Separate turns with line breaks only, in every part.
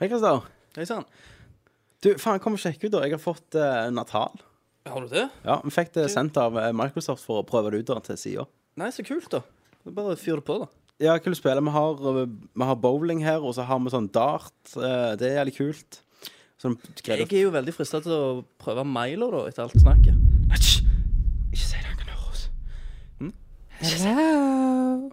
Hei, Christer. Hei sann. Du, faen, kom og sjekk ut, da. Jeg har fått eh, Natal.
Har du det?
Ja, Vi fikk det sendt av eh, Microsoft for å prøve det ut da, til sida.
Nei, så kult, da. Det er Bare fyr det på, da.
Ja, hva vil du spille? Vi har, eh, vi har bowling her, og så har vi sånn dart. eh, det er jævlig kult. Sånn
Jeg
greier du
er jo veldig frista til å prøve Milo, da, etter alt snakket.
Hysj! Ikke si det, han kan høre oss.
Hm?
Hello.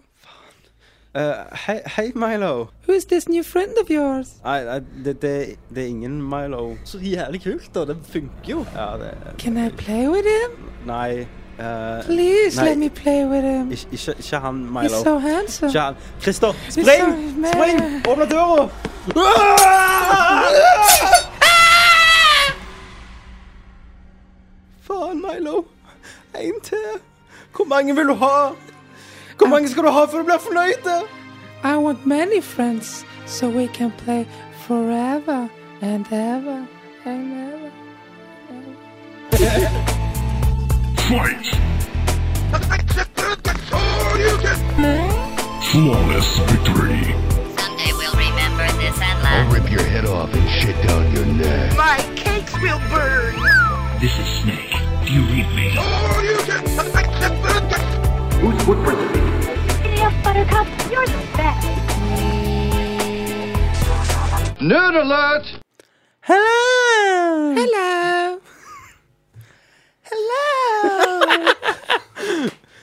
Eh, hei, hei, Milo.
Uh, Who is this new friend of yours?
Nei, nei det, det, det er ingen Milo.
Så jævlig kult, da. Det funker jo.
Ja, det
Can I play with him?
Nei. eh,
Please
Nei.
let me play with him.
ikke, ikke, ikke han,
He's
Milo.
so handsome.
Ikke han. Christer,
so
spring!
mad.
Spring! Åpne døra! Faen, Milo. En til. Hvor mange vil du ha? Hvor mange skal du ha før du blir fornøyd?
I want many friends so we can play forever and ever and ever.
Fight! Flawless victory.
Someday we'll remember this and laugh.
Rip your head off and shit down your neck.
My cakes will burn.
This is Snake. Do you read me?
City of Buttercup, you're the best.
Nerd alert!
Hello.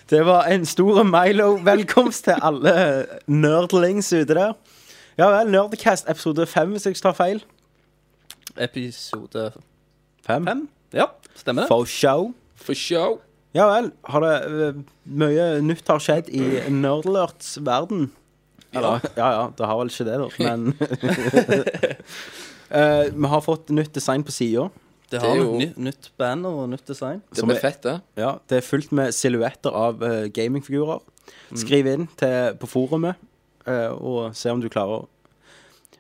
Det var en stor Milo-velkomst til alle nerdlings ute der. Ja vel, Nerdcast episode fem, hvis jeg ikke tar feil.
Episode
Fem?
fem. Ja, stemmer det.
For show.
For show.
Ja vel. Har det eh, Mye nytt har skjedd i Nerdlerts verden. Eller, ja. ja det har vel ikke det, da, men Eh, Vi har fått nytt design på sida.
Det
Det
har
er
jo
jo-
nytt, nytt banner og nytt design.
Det blir fett, det.
Ja, det er fullt med silhuetter av eh, gamingfigurer. Skriv inn til, på forumet eh, og se om du klarer å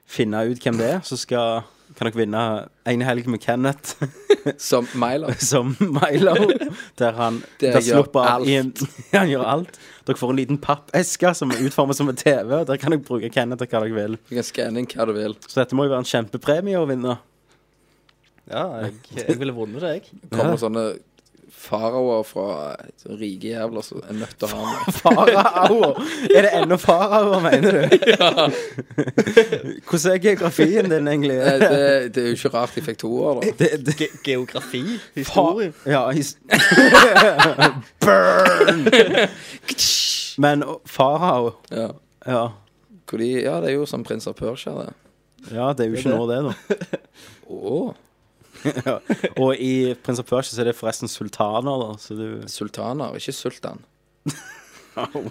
finne ut hvem det er. Så skal, kan dere vinne en helg med Kenneth
Som Milo.
som Milo. Der han
Det
der
gjør
slipper
alt.
I en, han gjør alt. Dere får en liten pappeske som er utformet som en TV. og Der kan dere bruke Kenneth og hva dere vil.
Du kan skanne inn hva du vil.
Så dette må jo være en kjempepremie å vinne.
Ja, jeg, jeg ville vunnet det, jeg.
Kommer sånne faraoer fra eh, sånne rike jævler som er nødt til å ha med.
Faraoer! Er det ennå faraoer, mener du? Hvordan er geografien din, egentlig?
Eh, Det, det er jo ikke rart de fikk to år, da.
Det, det,
Ge geografi. Historie.
Ja, his Burn! Men å, farao
Ja,
ja.
Hvor de, ja det er jo som prins av Persia, det.
ja, det er jo ikke nå, det, da.
Å,
Og i Prins av Persia så er det forresten sultaner, da, så du
sultaner, ikke sultan.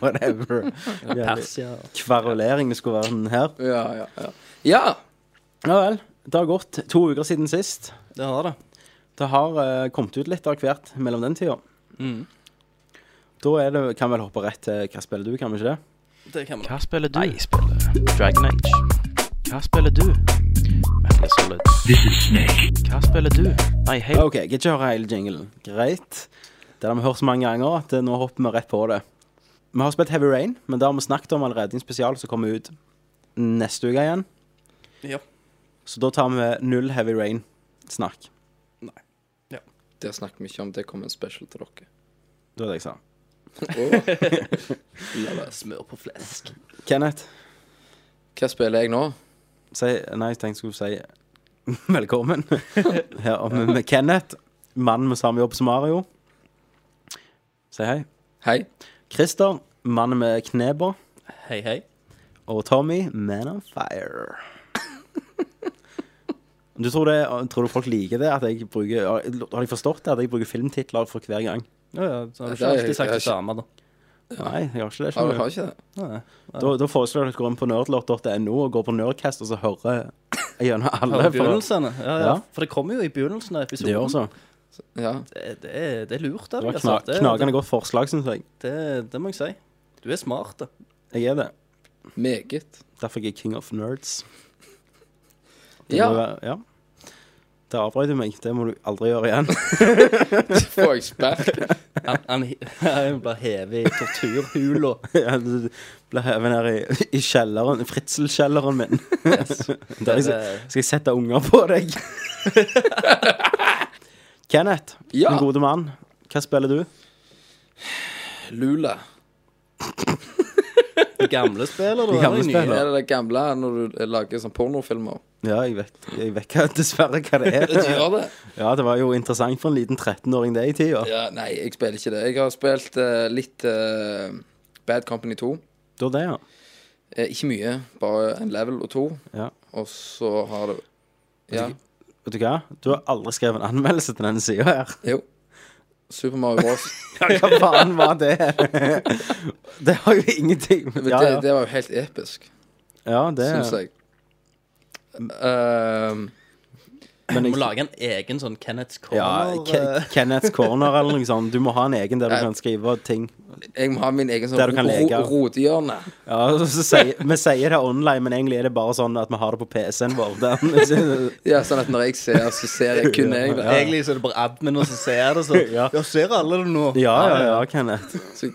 Whatever. Jævlig
Persia.
Kverulering det skulle være den her.
Ja, ja, ja. Ja!
Ja vel. Det har gått to uker siden sist.
Det har det.
Det har eh, kommet ut litt av hvert mellom den tida. Da er det, kan vi vel hoppe rett til hva spiller du, kan vi ikke det?
Det kan man.
Hva spiller du? Nei, jeg spiller Dragon Age. Hva spiller du? Metal Solid.
This is Snake.
Hva spiller du? Nei, hei.
OK, gidder ikke høre hele jinglen. Greit. Det har vi hørt så mange ganger at eh, nå hopper vi rett på det. Vi har spilt Heavy Rain, men det har vi snakket om allerede i en spesial som kommer ut neste uke igjen.
Ja.
Så da tar vi null Heavy Rain-snakk.
Det snakker vi ikke om. Det kommer en special til dere.
Det var det jeg sa.
Å,
Smør på flesk.
Kenneth,
Hva spiller jeg nå?
si Nei, jeg tenkte jeg skulle si velkommen. Her er vi med Kenneth, mannen med samme jobb som Mario. Si hei.
Hei.
Christer, mannen med kneba.
Hei, hei.
Og Tommy, man on fire. Du tror, det, tror du folk liker det? At jeg bruker, har de forstått det? At jeg bruker filmtitler for hver gang?
Ja, ja, så har du
Det
ikke
er-
alltid sagt
jeg
det samme, da.
Nei, jeg har ikke det.
Har
skjønner
du
du.
har ikke det?
Da, da foreslår jeg at du går inn på nerdlort.no og går på Nerdcast, og så hører jeg gjennom alle.
Hører
for-
begynnelsene. Ja, ja.
Ja.
For det kommer jo i begynnelsen av episoden.
Det gjør så.
Ja.
Det, det, er, det er lurt, det.
Det var
altså.
kna,
Det-
knagende godt forslag, syns jeg.
Det, det må jeg si. Du er smart, da.
Jeg er det.
Meget.
Derfor er jeg king of nerds. Det må
Ja.
være- ja. Der avbrøt du meg. Det må du aldri gjøre igjen.
Får jeg spark?
Han, han, han blir hevet i torturhula.
Ja, du Ble hevet ned i, i kjelleren, fritselkjelleren min. Der jeg, skal- skal jeg sette unger på deg. Kenneth,
Ja.
min gode mann. Hva spiller du?
Lula.
Gamle spiller, da.
De gamle
eller nye?
spiller.
Er det det gamle når du lager sånne pornofilmer?
Ja, jeg vet, jeg vet hva, dessverre hva det
Du
er.
gjør det?
Ja, det var jo interessant for en liten 13-åring det i tida.
Ja, nei, jeg spiller ikke det. Jeg har spilt eh, litt eh, Bad Company 2.
Det var det, ja.
Eh, ikke mye, bare en level og to.
Ja.
Og så har det Ja.
Vet du hva? Du har aldri skrevet en anmeldelse til denne sida her.
Jo. Super Mario Bros.
Ja, hva faen var det? Det har jo ingenting
Men
Ja,
det,
ja.
det var jo helt episk,
ja det
syns jeg. Ehm,
men
Du
jeg-
må lage en egen sånn Kenneths
Ja,
Corner. eh,
Ke- Kenneths Corner eller noe sånt. Du må ha en egen der du
Nei.
kan skrive ting.
jeg må ha min egen sånn
Der du kan leke.
ro- rotehjørne.
Ja, og så sier, Vi sier det online, men egentlig er det bare sånn at vi har det på PC-en vår. Den,
Ja, sånn at når jeg ser, så ser jeg kun jeg. Da.
Egentlig så er det bare admin som ser det. Så.
Ja.
ser alle det nå?
ja, ja, ja, Kenneth.
Så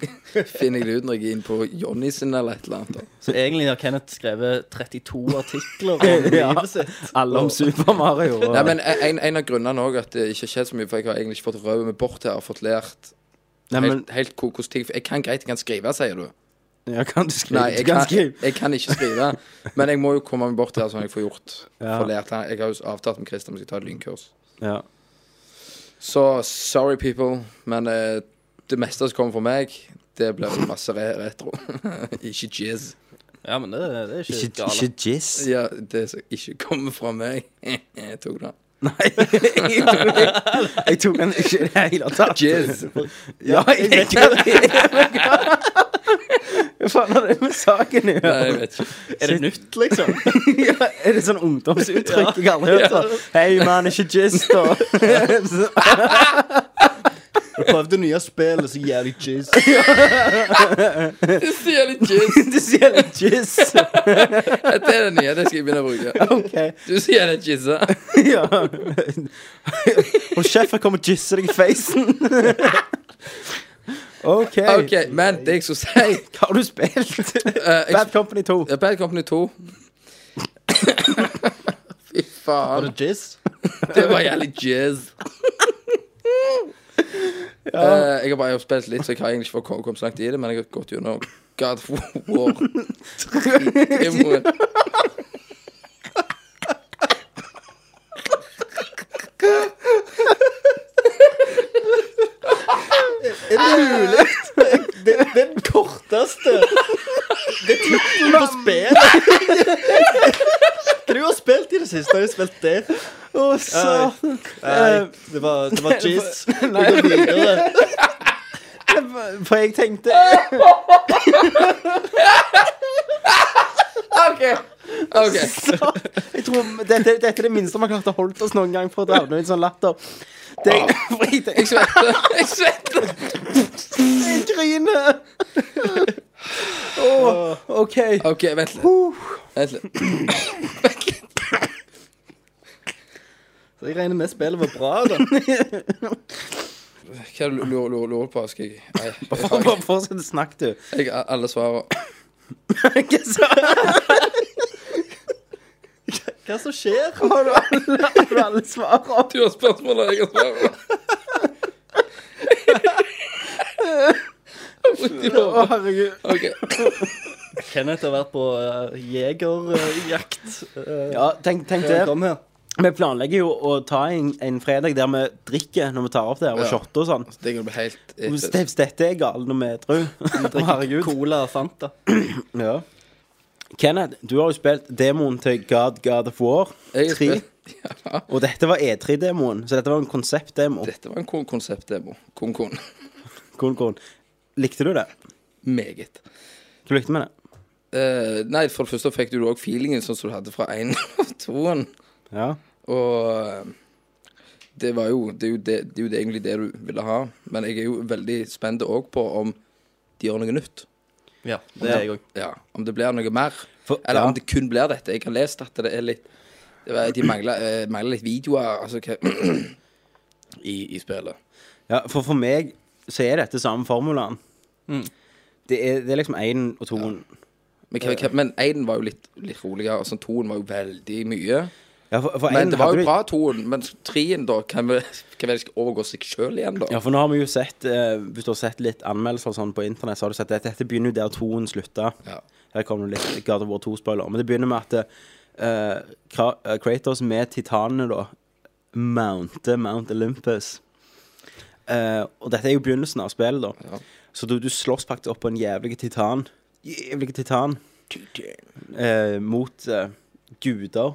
finner jeg det ut når jeg er inne på Johnny sin eller et eller annet. da.
Så egentlig har Kenneth skrevet 32 artikler om livet sitt.
Alle om Super Mario. Og,
Nei, men en, en av grunnene òg at det ikke har skjedd så mye, for jeg har egentlig ikke fått røvet meg bort her og fått lært
Nei, men
helt, helt kokos ting. For jeg kan greit, jeg kan skrive, sier du.
ja, Kan du skrive?
Nei,
du
jeg
kan
kan,
skrive.
jeg kan ikke skrive. Men jeg må jo komme meg bort her, sånn at jeg får gjort
Ja.
får lært Jeg har jo avtalt med Christian om jeg skal ta et lynkurs.
Ja.
Så sorry, people, men eh, det meste som kommer fra meg, det blir masse re retro. ikke jizz.
Ja, men det, det er ikke,
Ikke,
gale.
ikke jizz.
Ja, det som ikke kommer fra meg. jeg tok det.
Nei, jeg tok, jeg tok den ikke i det hele tatt.
Jizz.
Ja, jeg vet ikke hva det er. Hva faen har det med saken å
Nei, jeg
gjøre?
vet ikke.
Er det nytt, liksom?
Ja, er det sånn ungdomsuttrykk jeg aldri har hørt? sånn, Hei, man, ikke jizz, da.
Jeg prøvde nye spill, så jævlig jizz.
Det sier litt jizz.
Du sier litt jizz.
Dette er det nye. Det skal jeg begynne å bruke.
OK.
Du sier det jizza.
Ja. Hold kjeft, jeg kommer og jizzer deg i facen. OK.
OK, men det jeg skulle si
Hva har du spilt?
eh, jeg,
Bad Company 2.
Bad Company 2. Fy faen.
Jizz?
Det var jævlig jizz. Eh, jeg har bare spilt litt, så jeg har egentlig ikke fått kom- kommet så langt i det. Men jeg har gått gjennom God of War. Demoen.
Det, det er den korteste Det er tittelen på spillet. Hva du har spilt i det siste? Har du spilt det?
Å, satan.
Eh,
Nei, det var, det var jizz.
Eh, Nei,
Vi går videre.
for jeg tenkte
OK.
Jeg tror dette, dette er det minste man klarte å holde oss noen gang for å havne i en sånn latter. Det, for jeg
Ah. Jeg
tenkte
svetter. Jeg svetter.
Jeg griner! Åh, OK.
OK, vent litt. Vent litt. Vent litt.
Så jeg regner med spillet var bra, da.
Hva er det du lurer, lurer, lurer på? Skal jeg Nei, jeg har
Bare
ikke-
fortsett å snakke, du.
jeg har alle svarene.
Hva sa
Hva som skjer?
har du? Alle, har du alle svarene?
Du har spørsmål, og jeg har svar.
Å, herregud.
OK.
Kenneth har vært på uh, jegerjakt. Uh,
Ja, tenk, tenk det.
Kom her.
Vi planlegger jo å ta en, en fredag der vi drikker når vi tar opp det, her, og
Ja.
shotter og sånn.
Det kan bli helt eh,
Hvis det-
episk.
dette er galt når vi er edru. Å, Herregud.
Cola og Fanta.
Ja. Kenneth, du har jo spilt demoen til God God of War
Jeg har
3.
spilt-
Og dette var E3-demoen, så dette var en konseptdemo.
Dette var en kon konseptdemo. Kon-kon.
Kon, kon. Likte du det?
Meget.
Du likte med det?
Eh, nei, for det første fikk du òg feelingen sånn som du hadde fra én og toen.
Ja.
Og eh, det var jo Det er jo, det, det er jo det egentlig det du ville ha. Men jeg er jo veldig spent òg på om de gjør noe nytt.
Ja, det er jeg òg.
Ja, Om det blir noe mer.
For-
Eller
ja.
om det kun blir dette. Jeg har lest at det er litt Det var, de mangla eh, mangla litt videoer altså, hva, i, i spillet.
Ja, for for meg så er dette samme formulaen.
Mm.
Det, er, det er liksom én og toen.
Men, hva, hva, men én var jo litt, litt roligere, og sånn toen var jo veldig mye.
Ja, for, for
Men
én
det var
hadde
jo
du-
bra toen, men treen, da, kan vel kan vel ikke overgå seg sjøl igjen, da?
Ja, for nå har vi jo sett eh, Hvis du har sett litt anmeldelser og sånn på internett, så har du sett at dette begynner jo der toen slutta.
Ja.
Her kommer det litt God of War 2-spoiler. Men det begynner med at eh, Kra- eh, Kratos med titanene, da, mounter Mount Olympus. Eh, og dette er jo begynnelsen av spillet, da.
Ja.
Så du, du slåss faktisk opp på en jævlig titan. Jævlig titan eh, mot eh, guder.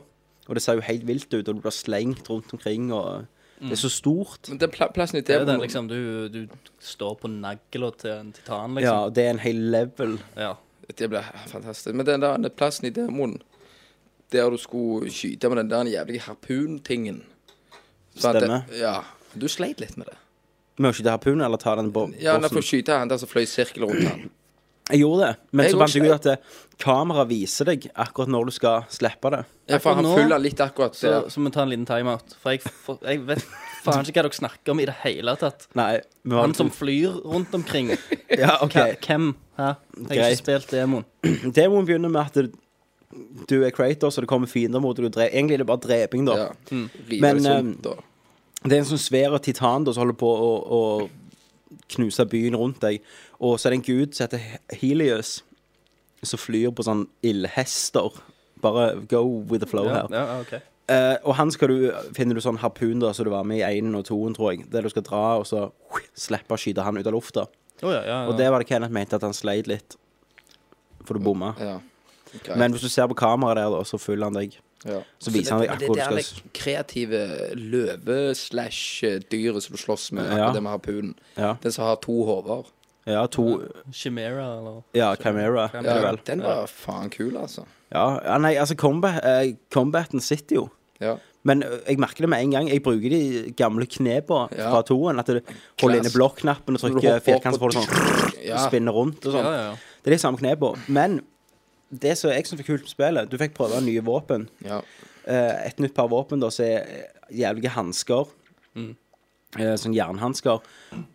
Og det ser jo helt vilt ut, og du blir slengt rundt omkring, og Det er så stort.
Men den pla plassen i
Det er jo
det
den liksom du, du står på nagla til en titan,
Ja,
liksom.
og det er en hel level.
Ja.
liksom.
Det ble fantastisk. Men den der den plassen i demoen der du skulle skyte med den der jævlige harpuntingen sant?
Stemmer.
Ja. Du sleit litt med det.
Med å skyte harpunen eller ta den bo
Ja, når
bossen?
du skyte han der som fløy sirkel rundt han.
Jeg gjorde det, men
Jeg
så fant
også-
jeg ut at eh, kameraet viser deg akkurat når du skal slippe det.
Ja, for han
Akkurat nå-
fyller litt akkurat
Så,
der.
så må vi ta en liten timeout. For jeg, for jeg vet faen ikke hva dere snakker om i det hele tatt.
Nei, vi var
Han som flyr rundt omkring.
Ja, OK.
Hva- Hvem? Hæ? Jeg har
Greit.
ikke spilt demoen.
Demoen begynner med at du er Kratos, og det kommer fiender mot deg. Du dre- Egentlig er det bare dreping, da.
Ja. River
Men,
det
ehm,
sunt, da.
Det er en sånn svær titan da, som holder på å, å knuse byen rundt deg. Og så er det en gud som heter He- Helios, som flyr på sånn ildhester. Bare go with the flow
Ja,
her.
ja, ja, ok.
Eh, og han skal du, finner du sånn harpun da, som du var med i einen og toen, tror jeg. Der du skal dra og så slippe å skyte han ut av lufta.
Å, ja, ja, ja.
Og det var det Kenneth mente at han sleit litt. For du bomma.
Ja. Greit.
Men hvis du ser på kameraet der, da, så følger han deg.
ja.
Så viser han deg
det, det
akkurat
er
hvor
det
du skal
kreative løve-slash-dyret som du slåss med,
Ja.
akkurat det med harpunen.
Ja,
Den som har to hoder.
ja to
Chimera, eller
Ja, Chimera. er det
Ja,
vel.
den var faen kul, altså.
Ja, ja, nei, altså, combat, eh, combaten sitter jo.
Ja.
Men eh, jeg merker det med en gang. Jeg bruker de gamle knepene
Ja.
fra toen. At du holder inne blokknappen og
Når du
trykker
hopper opp
firkant, så får du sånn
Ja.
spinner rundt og sånn.
Ja, ja, ja.
Det er de samme knepene. Men det som jeg syns var kult med spillet, du fikk prøve nye våpen.
ja.
Eh, et nytt par våpen da, som er jævlige hansker.
Mm.
Eh, sånn jernhansker.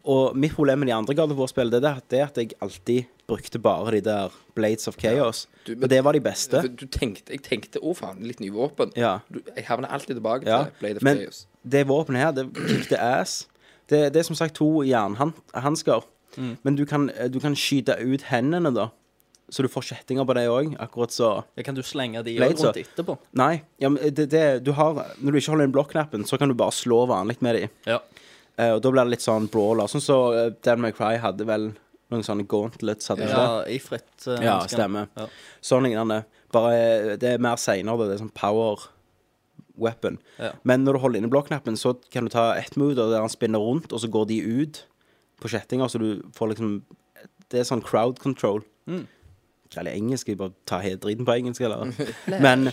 Og mitt problem med de andre God of War-spillene det er det at- det at jeg alltid brukte bare de der Blades of Chaos.
Du-
og det var de beste.
For Du tenkte, jeg tenkte å faen, litt nye våpen.
Ja.
Du, jeg havner alltid tilbake
Ja,
til Blade of
men
Chaos.
det våpenet her, det kickte ass. Det, det er som sagt to jernhansker.
Mm.
Men du kan, eh, du kan skyte ut hendene, da. Så du får kjettinger på det òg, akkurat så
Ja, Kan du slenge de
Blades,
rundt
ja.
etterpå?
Nei. Ja, men eh, det, det, du har, når du ikke holder inn blokknappen, så kan du bare slå vanlig med de.
Ja.
Eh, og da blir det litt sånn brawler. Sånn som så, Dan McCry hadde vel noen sånne gauntlets, hadde ikke
ja
det?
I fritt. eh,
Ja,
hanskene.
stemmer.
Ja.
Sånn lignende. Bare eh, det er mer seinere, det. Det er sånn power weapon.
Ja.
Men når du holder inne blokknappen, så kan du ta ett move da, der han spinner rundt, og så går de ut på kjettinger, så du får liksom Det er sånn crowd control. Mm. Eller engelsk. Jeg bare tar hele driten på engelsk, eller? Men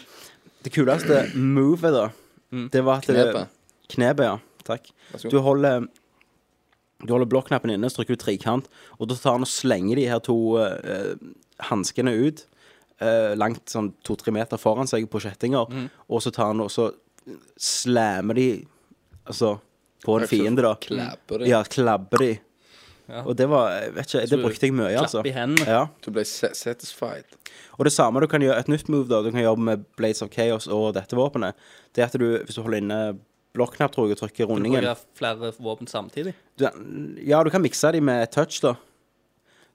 det kuleste movet, da, det var at det-
Knepet.
Knepet, ja. Takk.
Vær så god.
Du holder Du holder blokknappen inne, så trykker du trekant, og da tar han og slenger de her to uh, hanskene ut. eh, langt sånn to-tre meter foran seg på kjettinger.
Mhm.
Og så tar han og så slammer de Altså på en
Akkurat
fiende, da.
klabber de.
de. Ja, klabber de.
Ja.
Og det var jeg vet ikke, Det
du
brukte jeg mye,
klapper
altså.
i hendene.
Ja.
Du ble sa- satisfied.
Og det samme du kan gjøre, et nytt move da, du kan gjøre med Blades of Chaos og dette våpenet, det er at du, hvis du holder inne blokknapp, tror jeg, og trykker
Du
rundingen
bruker flere våpen samtidig.
du, Ja, du kan mikse de med touch, da.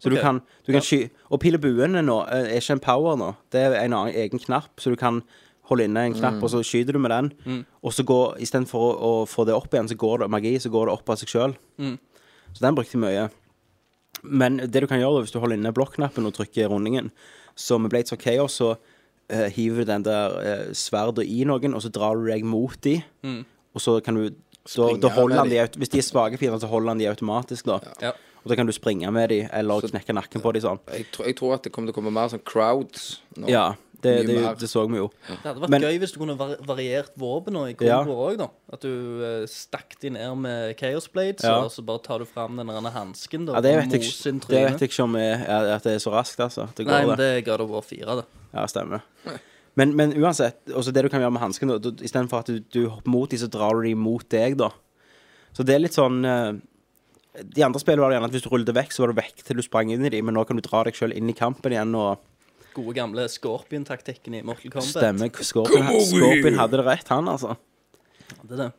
Så
Ok.
du kan, du kan sky... Og pil og buene nå eh, er ikke en power nå. Det er en annen egen knapp, så du kan holde inne en knapp, og så skyter du med den. Og så går, istedenfor å, å få det opp igjen, så går det magi, så går det opp av seg sjøl. Så den brukte jeg mye. Men det du kan gjøre da, hvis du holder inne blokknappen og trykker rundingen, så med Blades of Chaos så eh, hiver du den der uh, sverdet i noen, og så drar du deg mot de, og så kan du da,
Springe
da holder han
med
de,
de.
aut- Hvis de er svake fiender, så holder han de automatisk, da.
Ja.
Og da kan du springe med de, eller
Så-
knekke nakken på de sånn.
Jeg, tror- jeg tror at det kommer til å komme mer sånn crowds nå.
Ja, det,
Mye
det,
mer.
det så vi jo.
Det hadde vært
Men-
gøy hvis du kunne var variert våpnene i
Ja.
Kongo òg, da. At du eh, stakk de ned med Chaos Blades,
Ja.
og så bare tar du fram den der hansken da,
Ja, det
og
vet jeg,
moser inn
ikke- det vet jeg ikke om er, er, at det er så raskt, altså. Det går,
Nei, men
det.
det ga det vår fire, det.
Ja, stemmer. Men, men uansett, også det du kan gjøre med hansken, da, da- istedenfor at du, du hopper mot dem, så drar du dem mot deg, da. Så det er litt sånn eh, De andre spillene var det gjerne at hvis du rullet vekk, så var du vekk til du sprang inn i dem, men nå kan du dra deg sjøl inn i kampen igjen og
Gode gamle Scorpion-taktikken i Mortal Kombat.
stemme. Scorpion, Scorpion hadde det rett, han, altså.
Det er det.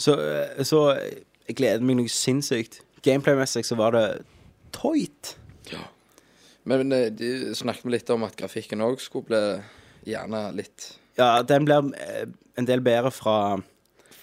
Så, eh, så jeg gleder meg noe sinnssykt. Gameplay-messig så var det tøyt.
Men eh, de snakket vi litt om at grafikken òg skulle bli gjerne litt
Ja, den blir eh, en del bedre fra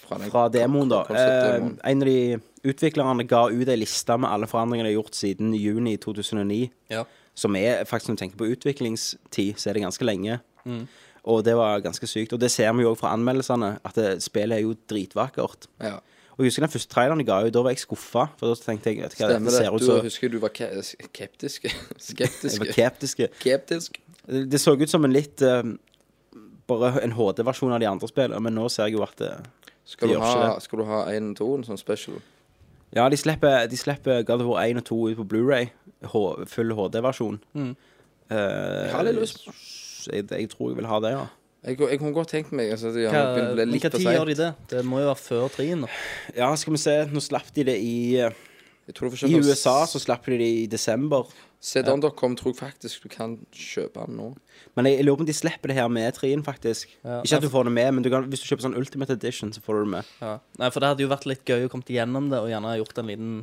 fra, den
fra demoen, da. Eh,
konseptdemoen.
en av de utviklerne ga ut ei liste med alle forandringer de har gjort siden juni 2009.
Ja.
Som er faktisk, når du tenker på utviklingstid, så er det ganske lenge.
Mm.
Og det var ganske sykt. Og det ser vi jo òg fra anmeldelsene, at det, spillet er jo dritvakkert.
ja.
Og jeg husker den første traileren de ga ut, da var jeg skuffa. For da tenkte jeg vet du hva,
Stemmer
dette
det.
ser ut
Du
som
husker du var ke skeptisk?
Jeg var
skeptisk?
skeptiske.
Skeptisk?
Det det så ut som en litt eh, Bare en HD-versjon av de andre spillene, men nå ser jeg jo at eh, det,
Skal du,
gjør ikke
ha, skal du ha en toen som special?
Ja, de slipper, de slipper God of War 1 og 2 ut på Blu-ray H- Full HD-versjon
Mm. Jeg har litt lyst.
jeg, jeg tror jeg vil ha det, ja
Jeg, jeg kunne godt tenkt meg altså, det
Hva,
gjerne ble
men
litt
hva
for
tid gjør de
seint.
det? Det må jo være før trien. da.
Ja, skal vi se, nå slapp de det i eh,
Jeg tror du får
I
kjøpt den-
USA så slapp de det i desember
Sedan.com tror jeg faktisk du kan kjøpe den nå.
Men jeg, jeg lurer på om de slipper det her med 3 faktisk
Ja.
Ikke at du får det med, men du kan, hvis du kjøper sånn Ultimate Edition Så får du det med
Ja. Nei, for det hadde jo vært litt gøy å komme gjennom det, og gjerne gjort en liten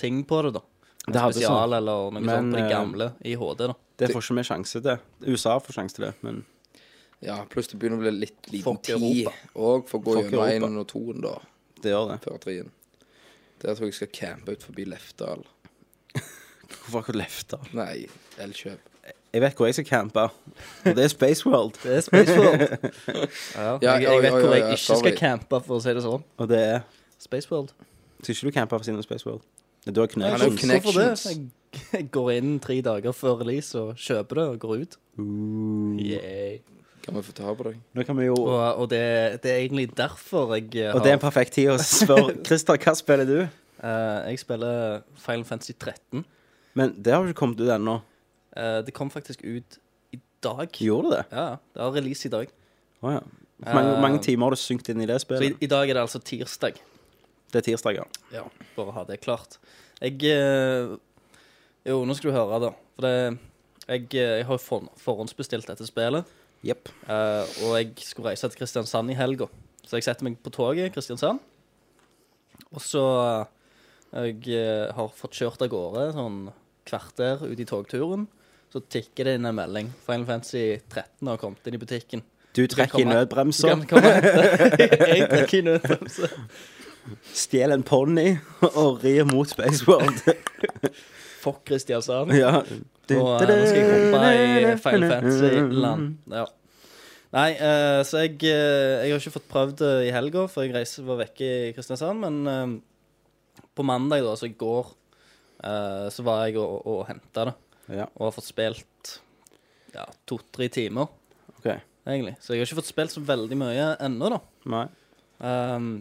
ting på det, da. En
Det hadde
spesial
sånn.
eller noe
Men,
sånt på det
eh,
gamle i HD, da.
Det får ikke vi sjanse til USA får sjanse til det, men
Ja, Pluss det begynner å bli litt liten
Fuck
tid
Europa.
òg for å gå
Fuck
gjennom
Europa.
én og toen, da.
det gjør det
Før trien. Der tror jeg jeg skal campe ut forbi Lefdal.
Hvorfor har du left da?
Nei, Elkjøp.
Jeg vet hvor jeg skal campe Og det er Space World
Det er Spaceworld. ja,
Ja,
jeg, jeg
oi,
vet hvor
oi, oi,
jeg
ja,
ikke
sorry.
skal campe, for å si det sånn.
Og det er
Spaceworld.
Skal ikke du campe ved siden av Space World? Du har
Jeg
er jo
connections
husker for det.
connections.
Jeg, jeg går inn tre dager før release og kjøper det og går ut. Yay.
Kan vi få ta på deg?
Nå kan vi jo
Og, og det, det er egentlig derfor jeg har
Og det er en perfekt tid å spørre Christer, hva spiller du?
eh, Jeg spiller Final Fantasy 13.
Men det har jo ikke kommet ut ennå.
Eh, det kom faktisk ut i dag.
Gjorde det?
Ja, det har release i dag.
Å ja. Hvor mange,
Eh,
mange timer har du synkt inn i det
Så i,
spillet?
i dag er det altså tirsdag.
Det er tirsdag, ja.
Ja, bare ha det klart. Jeg eh, Jo, nå skal du høre, da. For det Jeg, eh, jeg har jo for, forhåndsbestilt dette spillet.
Jepp.
Eh, og jeg skulle reise til Kristiansand i helga. Så jeg setter meg på toget i Kristiansand. Og så eh, Jeg eh, har fått kjørt av gårde sånn kvarter ut i togturen. Så tikker det inn en melding. Final Fantasy 13 har kommet inn i butikken.
Du trekker i
komme. Så
nødbremsa,
kan vi komme og hente. Jeg trekker i nødbremse.
stjeler en ponni og rir mot Space World.
Fuck Kristiansand.
ja. Du-
Og eh, nå skal jeg komme i Final Fantasy-land. Ja. Nei, eh, så jeg, eh, jeg har ikke fått prøvd det i helga, for jeg reiser, var vekke i Kristiansand. Men eh, på mandag, da, altså i går, eh, så var jeg og, og henta det.
Ja,
Og har fått spilt ja, to-tre timer,
OK.
egentlig. Så jeg har ikke fått spilt så veldig mye ennå, da.
Nei.
Ehm,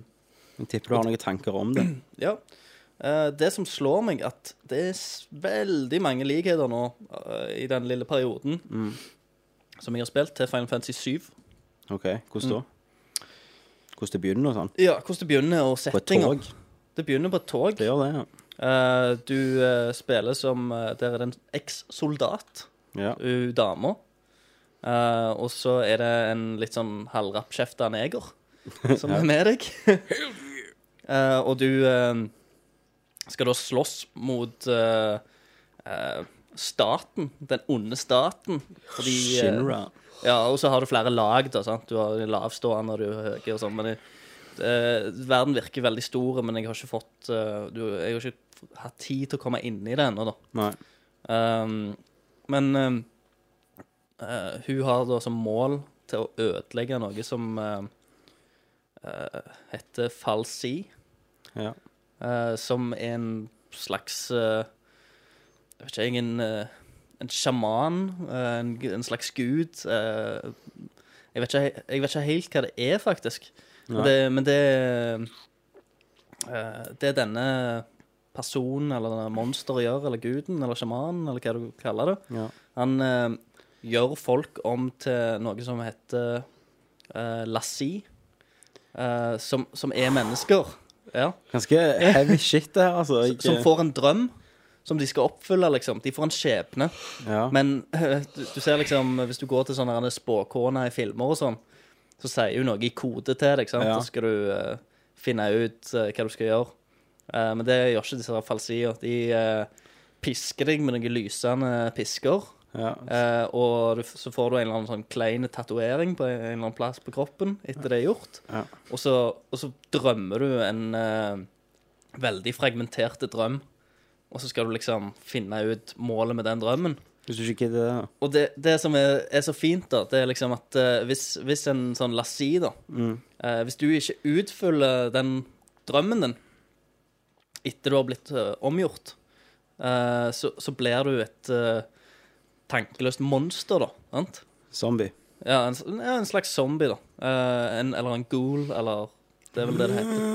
Jeg tipper du har noen tanker om det.
Ja. Eh, det som slår meg, at det er s- veldig mange likheter nå eh, i den lille perioden som jeg har spilt, til Final Fantasy 7.
OK, hvordan da?
Mm.
Hvordan det begynner og sånn?
Ja, hvordan det begynner, og
På et
settinga.
tog?
Det begynner på et tog.
Det gjør det, ja.
Eh, du eh, spiller som eh, Der er det en eks-soldat,
ja.
hun dama. Eh, og så er det en litt sånn halvrappkjefta neger som er med deg. Eh, og du eh, skal da slåss mot eh, eh, staten, den onde staten. Fordi, eh,
Shinra.
ja, og så har du flere lag, da. sant? Du har de lavstående og du er høye og sånn. Men det, eh, verden virker veldig stor, men jeg har ikke fått eh, du, Jeg har ikke hatt tid til å komme inn i det ennå, da.
Nei.
Um, men um, eh, hun har da som mål til å ødelegge noe som eh, eh, heter falsi,
Ja.
eh, som er en slags eh, Jeg vet ikke, jeg, en, eh, en sjaman, eh, en, g- en slags gud. eh, jeg, vet ikke, he- jeg vet ikke helt hva det er, faktisk. Men
Nei.
det, men det eh, Det er denne personen eller denne monsteret gjør, eller guden, eller sjamanen, eller hva du kaller det.
Ja.
Han eh, gjør folk om til noe som heter uh, lassi, eh, som, som er mennesker. Ja.
Ganske heavy shit, det her, altså. Jeg,
Som får en drøm som de skal oppfylle, liksom. De får en skjebne.
ja.
Men du, du ser liksom, hvis du går til sånne her spåkåner i filmer og sånn, så sier hun noe i kode til deg, ikke sant?
Ja.
Så skal du eh, finne ut eh, hva du skal gjøre. Eh, men det gjør ikke disse her falsier. De eh, pisker deg med noen lysende pisker,
ja.
eh, og du, f- så får du en eller annen sånn klein tatuering på en eller annen plass på kroppen etter det er gjort.
Ja.
Og, så, og så drømmer du en eh, veldig fragmenterte drøm, og så skal du liksom finne ut målet med den drømmen.
Hvis du ikke gidder det.
Og det, det som er, er så fint, da, det er liksom at eh, hvis, hvis en sånn lassi, da eh, Hvis du ikke utfyller den drømmen din etter du har blitt eh, omgjort, eh, så, så blir du et eh, tankeløst monster, da. Sant?
Zombie.
Ja, en, s- ja, en slags zombie, da. Eh, en, eller en ghoul, eller Det er vel det det heter.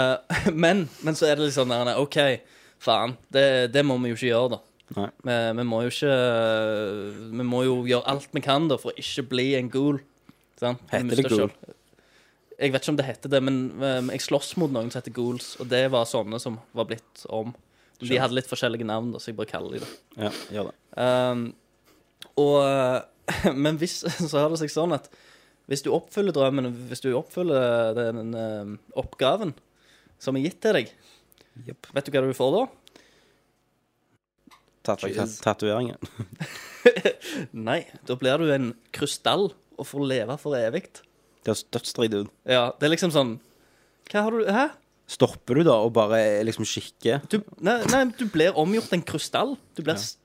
Eh, men, men så er det litt sånn der, OK, faen, det, det må vi jo ikke gjøre, da.
Nei.
Vi, vi må jo ikke Vi må jo gjøre alt vi kan da for å ikke bli en ghoul. Sant? Vi
Heter det
mister
ghoul?
selv- Jeg vet ikke om det heter det, men eh, jeg slåss mot noen som heter ghouls, og det var sånne som var blitt om. De hadde litt forskjellige navn, da, så jeg bare kaller de det.
Ja, gjør det.
Um, og, men hvis, så har det seg sånn at hvis du oppfyller drømmen, hvis du oppfyller den um, oppgaven som er gitt til deg, vet du hva du får da?
Tatu-
Jeez.
Tatoveringen.
Nei, da blir du en krystall og får leve for evig.
Det høres dødsdrit ut.
Ja, det er liksom sånn Hva har du Hæ?
Stopper du da og bare liksom kikker?
Du, nei, nei, du blir omgjort til en krystall. Du blir s-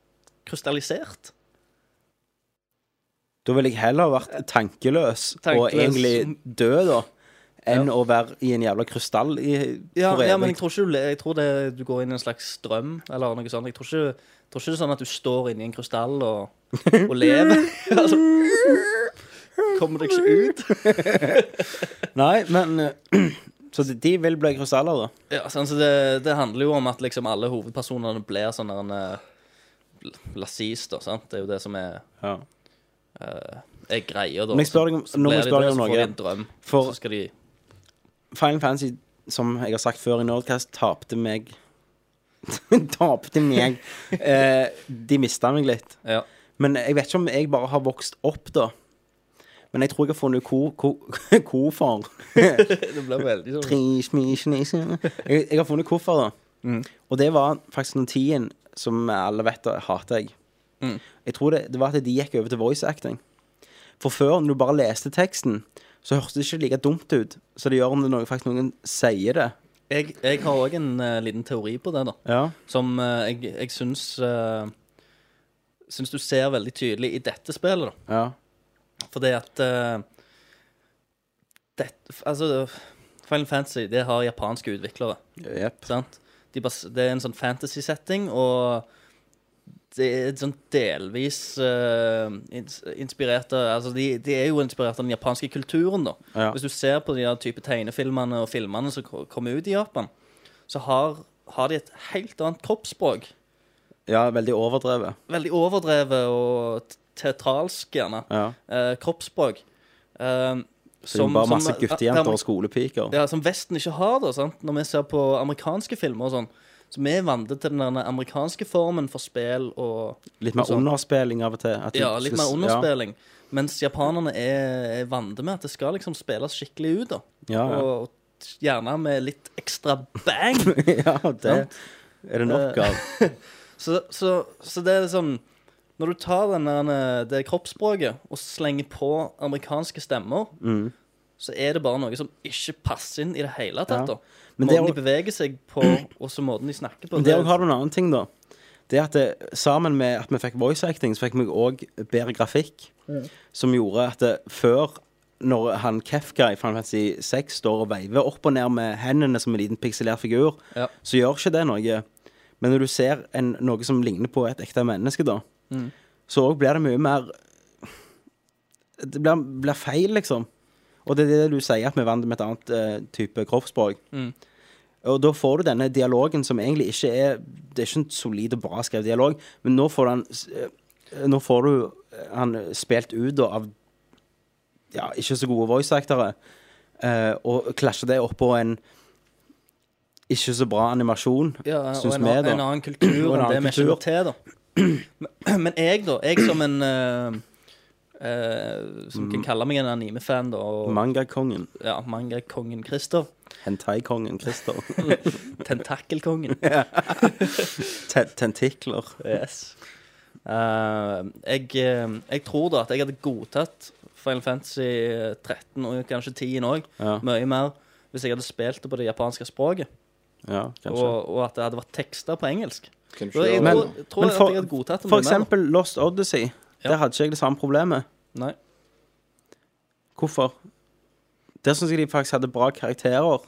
krystallisert.
Da ville jeg heller vært tankeløs,
Tankeløs.
og egentlig dø, da, enn å være i en jævla krystall i,
Ja,
for evig.
ja, men jeg tror ikke du, le- jeg tror det, du går inn i en slags strøm eller noe sånt. Jeg tror ikke, jeg tror ikke det er sånn at du står inni en krystall og, og lever. altså, kommer deg ikke ut.
Nei, men eh, Så de- de vil bli krystaller, da?
Ja, sånn, så det, det handler jo om at liksom alle hovedpersonene blir sånn der en eh, Lasis, da. sant? Det er jo det som er,
Ja.
er greia, da.
Men jeg spør deg om, nå må jeg spørre deg om
Så blir de det, så får de en
noe.
drøm.
For-
så skal de
Final Fantasy, som jeg har sagt før i Nordcast, tapte meg Tapte meg. Eh, de mista meg litt.
Ja.
Men jeg vet ikke om jeg bare har vokst opp, da. Men jeg tror jeg har funnet ko- ko- hvorfor.
Det ble veldig sånn
Pris, mis, nis. Jeg, jeg har funnet hvorfor, da.
Mm.
Og det var faktisk den tiden som alle vet da, hater jeg.
Mm.
Jeg tror det, det var at de gikk over til voice acting. For før, når du bare leste teksten, så hørtes det ikke like dumt ut. Så det gjør om det noe, faktisk noen sier det.
Jeg, jeg har òg en eh, liten teori på det, da.
Ja.
Som eh, jeg, jeg syns eh, Syns du ser veldig tydelig i dette spillet, da.
ja.
Fordi at eh, dette, Altså, Final Fantasy det har japanske utviklere.
Jepp.
sant? De bas det er en sånn fantasy-setting, og det er et sånn delvis eh, ins inspirert av Altså, de, de er jo inspirert av den japanske kulturen, da.
Ja.
Hvis du ser på de her type tegnefilmene og filmene som ko- kommer ut i Japan, så har, har de et helt annet kroppsspråk.
ja, veldig overdrevet.
Veldig overdrevet og t- teatralsk, gjerne.
Ja.
Eh, kroppsspråk. Eh,
Så det er jo bare masse guttejenter og skolepiker.
ja, som Vesten ikke har, da. sant? Når vi ser på amerikanske filmer og sånn. Så vi er vant til den der amerikanske formen for spill og
Litt mer
og sånn.
underspilling av og til. at de
Ja, litt
skal-
mer
Ja.
underspilling. Mens japanerne er, er vant med at det skal liksom spilles skikkelig ut, da.
Ja, ja.
Og, og gjerne med litt ekstra bang.
ja, det
Sant?
er det nok av.
Så, så, så det er sånn Når du tar den der, eh, det kroppsspråket og slenger på amerikanske stemmer,
Mm.
så er det bare noe som ikke passer inn i det hele tatt.
Ja.
da.
Men det
måten
er
de beveger seg på, og så måten de snakker på.
Men der har du en annen ting, da. Det er at det, sammen med at vi fikk voice acting, så fikk vi òg bedre grafikk.
Mm.
Som gjorde at det, før, når han Kefka i Final Fantasy 6 står og veiver opp og ned med hendene som en liten pikselert figur,
Ja.
så gjør ikke det noe. Men når du ser en, noe som ligner på et ekte menneske, da,
Mm.
så òg blir det mye mer Det blir, blir feil, liksom. Og det er det du sier, at vi er vant med et annet eh, type kroppsspråk.
Mm.
Og da får du denne dialogen som egentlig ikke er Det er ikke en solid og bra skrevet dialog, men nå får du den s- eh, eh, nå får du eh, han spilt ut da, av ja, ikke så gode voice-actere, eh, og klasjer det oppå en ikke så bra animasjon,
Ja, og
syns
en,
vi,
an-
da.
en annen kultur
Og en
enn det
annen
vi
kultur.
kjenner til, da. Men, men jeg, da. Jeg som en eh, eh, Som
Mm.
kan kalle meg en anime-fan, da. Og,
Mangakongen.
ja, Manga-kongen Christer.
Hentai-kongen Christer.
Tentakelkongen.
Te- Tentikler.
Yes. Eh, jeg, eh, jeg tror da at jeg hadde godtatt Final Fantasy 13 og kanskje 10 òg,
Ja.
mye mer, hvis jeg hadde spilt det på det japanske språket,
Ja,
og,
kanskje.
og at det hadde vært tekster på engelsk.
Kanskje
Da, jeg
det-
tror, tror
men
jeg
for-
at jeg hadde godtatt det
For
mye mer, da.
eksempel Lost Odyssey. Der hadde ikke jeg det samme problemet.
Nei.
Hvorfor? Der syns jeg de faktisk hadde bra karakterer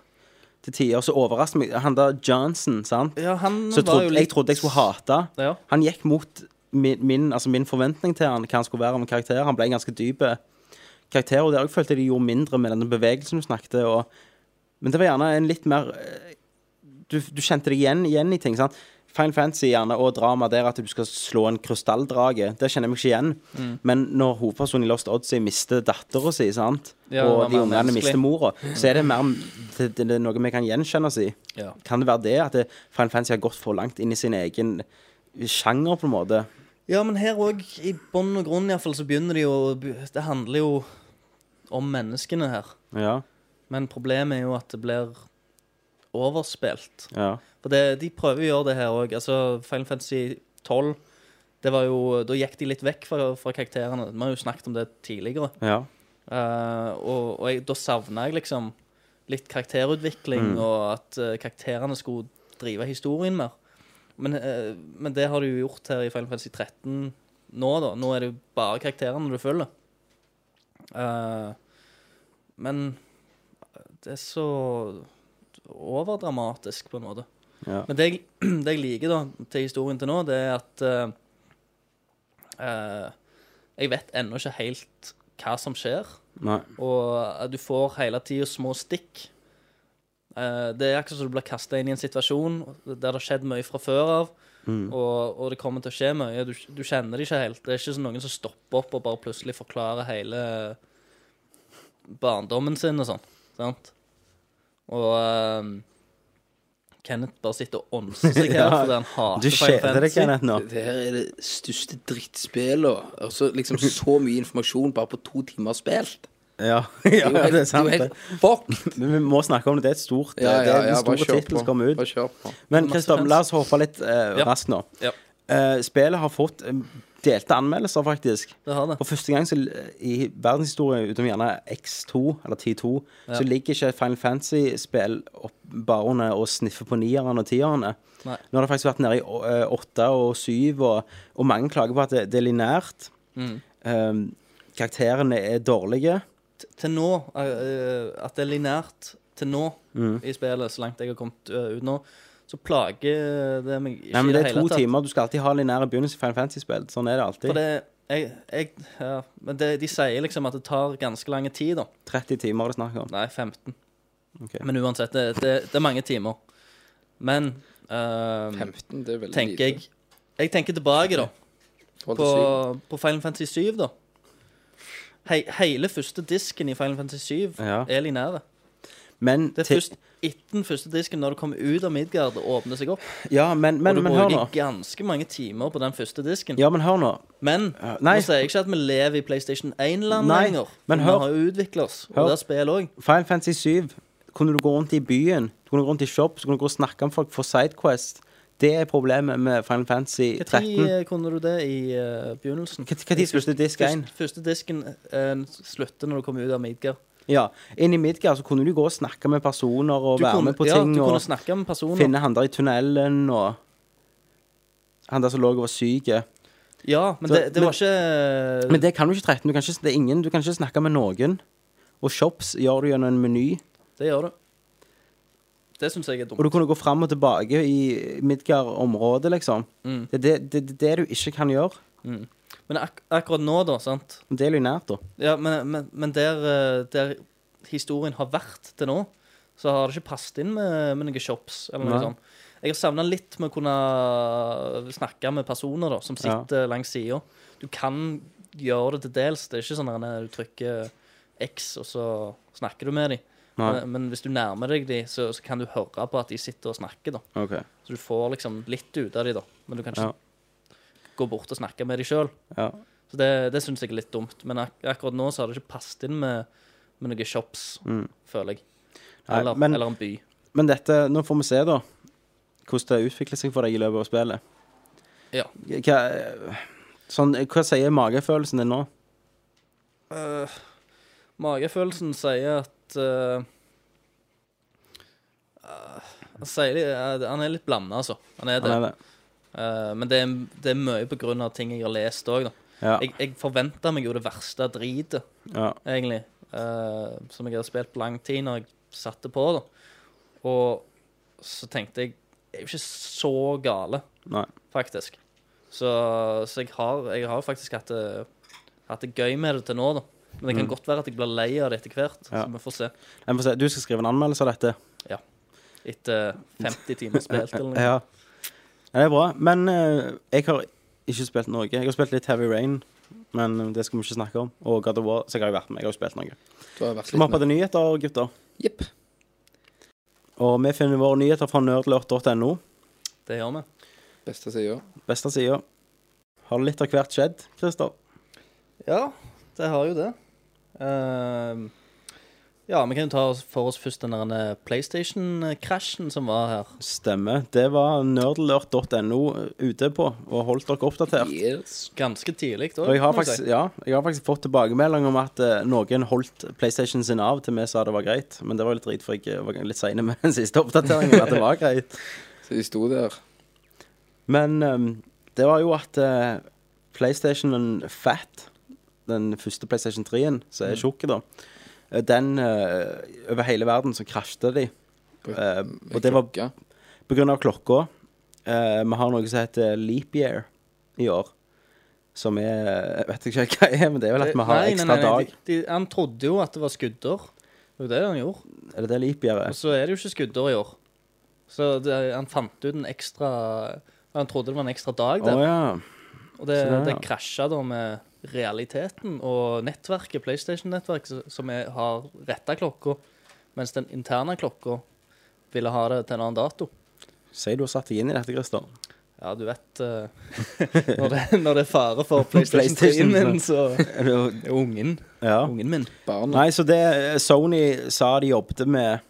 til tider. Så overrasket meg Han der Johnson, sant?
Ja, han
Så jeg
var
trodde,
jo litt
jeg trodde jeg skulle hate.
Ja.
Han gikk mot min, min, altså min forventning til han, hva han skulle være om karakter. Han ble en ganske dyp eh, karakter, og der jeg følte de gjorde mindre med denne bevegelsen du snakket og, Men det var gjerne en litt mer eh, Du, du kjente deg igjen, igjen i ting. sant? Final Fantasy gjerne, og drama der at du skal slå en krystalldrage. Det kjenner jeg meg ikke igjen.
Mm.
Men når hovedpersonen i Lost Odyssey mister dattera si, sant?
Ja,
og
det var
de
mer
ungene
menneskelig.
mister mora, så er det mer det, det, det er noe vi kan gjenkjenne oss i.
Ja.
Kan det være det at det, Final Fantasy har gått for langt inn i sin egen sjanger, på en måte?
Ja, men her òg, i bånn og grunn iallfall, så begynner det jo å be- Det handler jo om menneskene her.
Ja,
Men problemet er jo at det blir overspilt.
ja.
For det, de prøver å gjøre det her òg. Altså, Final Fantasy 12 det var jo, Da gikk de litt vekk fra, fra karakterene. Vi har jo snakket om det tidligere.
ja.
Eh, og og jeg, da savna jeg liksom litt karakterutvikling, og at eh, karakterene skulle drive historien mer. Men, eh, men det har du jo gjort her i Final Fantasy 13 nå, da. Nå er det jo bare karakterene du følger. Eh, men det er så overdramatisk, på en måte.
Ja.
Men det jeg, det jeg liker da til historien til nå, det er at eh, eh, Jeg vet ennå ikke helt hva som skjer.
Nei.
Og eh, du får hele tida små stikk. Eh, det er akkurat som du blir kasta inn i en situasjon der det har skjedd mye fra før av.
Mm.
Og, og det kommer til å skje mye. Du, du kjenner det ikke helt. Det er ikke sånn noen som stopper opp og bare plutselig forklarer hele barndommen sin og sånn. Sant? Og eh, Kenneth bare sitter og ånser seg her
Ja.
fordi han hater
Du kjeder deg,
Fantasy.
Kenneth, nå.
Det her er det største drittspillet. Altså, liksom så mye informasjon bare på to timer spilt.
Ja, ja,
jo helt-
det er sant.
det er jo
det.
helt fucked.
Men vi må snakke om det. Det er et stort eh,
Ja,
Det
ja,
er den
ja, bare
store
kjør
tittelen
på.
som kommer
Bare
ut.
kjør på.
Men
Masse
Kristoff,
fans.
la oss hoppe litt eh,
Ja.
raskt nå.
Ja.
Eh, spillet har fått eh, delte anmeldelser, faktisk.
Det har det.
For første gang så, i verdenshistorien, utenom gjerne X2 eller 10-2,
Ja.
så ligger ikke Final Fantasy-spill opp- bare under å sniffe på nierne og tierne.
Nei.
Nå har det faktisk vært nede i å- eh, åtte og syv, og, og mange klager på at det, det er lineært.
Mm.
Eh, karakterene er dårlige.
t- til nå eh, eh, At det er linært til nå
Mm.
i spillet, så langt jeg har kommet eh, ut nå, så plager det meg ikke
Nei, men
i
det
det
er
hele
to
tatt.
timer. Du skal alltid ha lineære begynnelser i Final Fantasy-spill. Sånn er det alltid.
For det jeg, jeg, ja, Men det, de sier liksom at det tar ganske lang tid, da.
30 timer er det snakk om.
Nei, 15.
Ok.
Men uansett, det, det, det er mange timer. Men eh,
15, det er veldig
tenker jeg Jeg tenker tilbake, da. på, på Final Fantasy 7, da. He, hele første disken i Final Fantasy 7
Ja.
er linære.
Men,
Det er
til-
først etter den første disken, når du kommer ut av Midgard og åpner seg opp.
ja, men, men,
og du
men hør nå.
bruker ganske mange timer på den første disken.
Ja, men hør nå.
Men
Ja, nei.
nå sier jeg ikke at vi lever i PlayStation 1-land
Nei,
lenger.
men
vi
hør.
har jo utvikla oss, og
Hør.
det er spill òg.
Final Fantasy 7 kunne du gå rundt i byen, du kunne gå rundt i shops, du kunne gå og snakke med folk for Sidequest. Det er problemet med Final Fantasy 13.
Når kunne du det i eh, begynnelsen?
Når spilte disk 1?
Første, første disken eh, slutter når du kommer ut av Midgard.
Ja. Inn i Midgard så kunne du gå og snakke med personer og
Du
være
kunne,
med på
ja,
ting
du kunne
og
snakke med personer.
finne han der i tunnelen og Han der som lå og var syk.
Ja, men
Så-
det,
men-
det var ikke
Men det kan du ikke i 13. Du kan ikke, det er ingen, du kan ikke snakke med noen. Og shops gjør du gjennom en meny.
Det gjør du. Det syns jeg er dumt.
Og du kunne gå fram og tilbake i Midgard-området, liksom.
Mm.
Det er det, det, det er det du ikke kan gjøre.
Men ak akkurat nå, da, sant
Det er linært, da.
Ja, men, men, men der, eh, der historien har vært til nå, så har det ikke passet inn med, med noen shops eller noe
Nei.
sånt. Jeg har savna litt med å kunne eh, snakke med personer da, som sitter langs sida. Du kan gjøre det til dels. Det er ikke sånn at du trykker X, og så snakker du med dem.
Nei.
Men, men hvis du nærmer deg dem, så, så kan du høre på at de sitter og snakker. da.
OK.
Så du får liksom litt ut av dem, da. Men du kan ikke
Ja.
gå bort og snakke med dem sjøl.
Ja.
Så det, det syns jeg er litt dumt. Men ak akkurat nå så har det ikke passet inn med, med noen shops, føler jeg.
Nei,
Eller,
men-
eller en by.
Men dette, nå får vi se, da, hvordan det utvikler seg for deg i løpet av spillet.
Ja.
Hva, sånn, hva sier magefølelsen din nå?
Eh, magefølelsen sier at eh, eh, han sier, eh, Han er litt blanda, altså. Han er det.
Han er det.
Eh, men det er, det er mye på grunn av ting jeg har lest òg, da.
Ja.
Jeg, jeg forventa meg jo det verste dritet.
ja.
egentlig. eh, som jeg hadde spilt på lang tid når jeg satte på. da. Og så tenkte jeg Jeg er jo ikke så gale,
Nei.
faktisk. Så, så jeg, har, jeg har faktisk hatt det, hatt det gøy med det til nå, da. Men det kan godt være at jeg blir lei av det etter hvert.
Mm. Ja.
Så vi får se.
Jeg får se, Du skal skrive en anmeldelse av dette?
Etter 50 timer spilt eller noe.
Ja. ja det er bra. Men eh, jeg har ikke spilt noe. Jeg har spilt litt Heavy Rain, men det skal vi ikke snakke om. Og God of War, så jeg har jo vært med. Jeg har jo spilt noe.
Du har vært
Skal vi hoppe
litt med.
til nyheter, gutter?
Jepp.
Og vi finner våre nyheter fra nerdlurt.no.
Det gjør vi.
Beste sida.
Beste sida. Har litt av hvert skjedd, Christer?
Ja, det har jo det. Ehm, ja, vi kan jo ta oss- for oss først den der PlayStation-krasjen som var her.
Stemmer. Det var nerdlurt.no eh, ute på, og holdt dere oppdatert.
Yes.
Ganske tidlig
Og
òg.
jeg har, faktisk, ja, jeg har faktisk fått tilbakemelding om at eh, noen holdt PlayStation sin av til vi sa det var greit. Men det var jo litt drit, for jeg eh, var litt sein med den siste oppdateringen. at det var greit.
Så de sto der.
Men ehm, det var jo at eh, PlayStation Fat, den første PlayStation 3-en, som er tjukk, da, eh, den eh, over hele verden så krasjte de. Eh, og det var
Klokka.
På grunn av klokka. eh, vi har noe som heter leap year i år. Som er Jeg vet ikke helt hva det er, men det er vel at vi har
Nei, nei,
ekstra
nei, nei,
dag.
de, de, han trodde jo at det var skudder. Det var jo det han gjorde.
Er det det leap year
Og
er?
så er det jo ikke skudder i år. Så det, han fant ut en ekstra Han trodde det var en ekstra dag
Å
der.
ja.
Og det,
så det,
det
ja.
krasja da med realiteten og nettverket, PlayStation-nettverket, som- som er, har retta klokka, mens den interne klokka ville ha det til en annen dato.
Sier du har satt deg inn i dette, Christer.
Ja, du vet eh, når, det, når det er fare for PlayStation,
PlayStation,
3-en min, så
Er du-
Det er Ungen.
Ja.
Ungen min.
Barna.
Nei, så det eh, Sony sa de jobbet med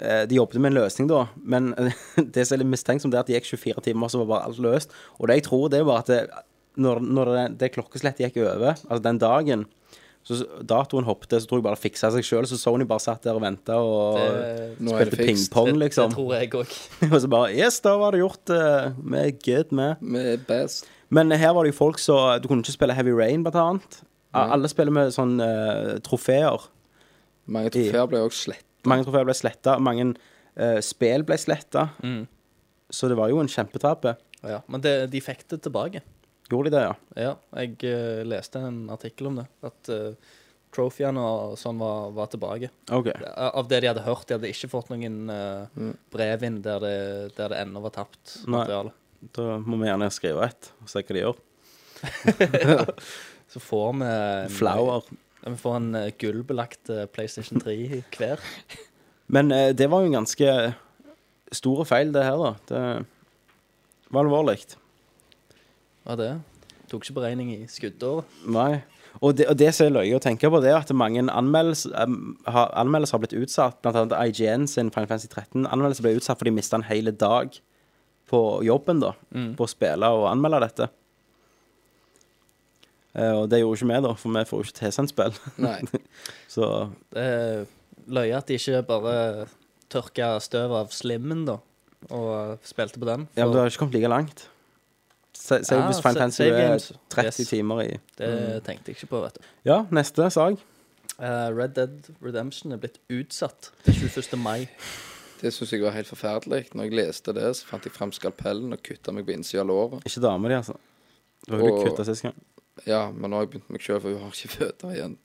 eh, De jobbet med en løsning da, men det som er litt mistenksomt, det er at det gikk 24 timer, så var bare alt løst. Og det jeg tror, det var at det, når, når det, det klokkeslettet gikk over, altså den dagen så s- datoen hoppet, så tror jeg bare det fiksa seg sjøl. Så Sony bare satt der og venta og
Det-
Nå er det
spilte
fikst.
pingpong,
det, det
liksom.
tror jeg òg.
Og så bare Yes, da var det gjort. eh, Vi er good med.
Vi er best.
Men her var det jo folk som Du kunne ikke spille Heavy Rain, blant annet. Alle spiller med sånn eh, trofeer.
Mange trofeer ble også slett.
Mange trofeer ble sletta, mange eh, spill ble sletta. Så det var jo en kjempetabbe.
Ja, men det, de fikk det tilbake.
Gjorde de det, ja?
Ja, jeg eh, leste en artikkel om det. At uh, trofeene og sånn var, var tilbake.
OK.
Av det de hadde hørt. De hadde ikke fått noen eh, brev inn der det, der det ennå var tapt
Mm. Nei.
materiale.
Da må vi gjerne skrive et og se hva de gjør.
Så får vi en,
Flower.
Vi får en eh, gullbelagt eh, PlayStation 3 hver.
Men eh, det var jo en ganske stor feil, det her, da. Det var alvorlig.
Hva er det? Tok ikke beregning i skuddåret.
Nei. Og det, og det som er løye å tenke på, det er at mange anmeldelser, em, har, anmeldelser har blitt utsatt. Blant annet IGN sin Final Fantasy 13 anmeldelse ble utsatt fordi de mista en hel dag på jobben da,
Mm.
på å spille og anmelde dette. Eh, og det gjorde ikke vi, da, for vi får jo ikke tilsendt spill.
Nei.
Så
Det er løye at de ikke bare tørka støv av slimmen, da, og eh, spilte på den.
ja, men
For
du har ikke kommet like langt. Se, se
Ah,
hvis
sa-
Final Fantasy
save
er Mm.
games.
30
Yes.
timer i
det tenkte jeg ikke på, vet du.
Ja, neste sag.
Eh, Red Dead Redemption er blitt utsatt til 21. mai.
Det syns jeg var helt forferdelig. Når jeg leste det, så fant jeg fram skalpellen og kutta meg på innsida av låret.
Ikke dama di, altså. Du har jo
Og-
kutta sist gang.
Ja, men nå har jeg begynt meg sjøl, for hun har ikke føtter igjen.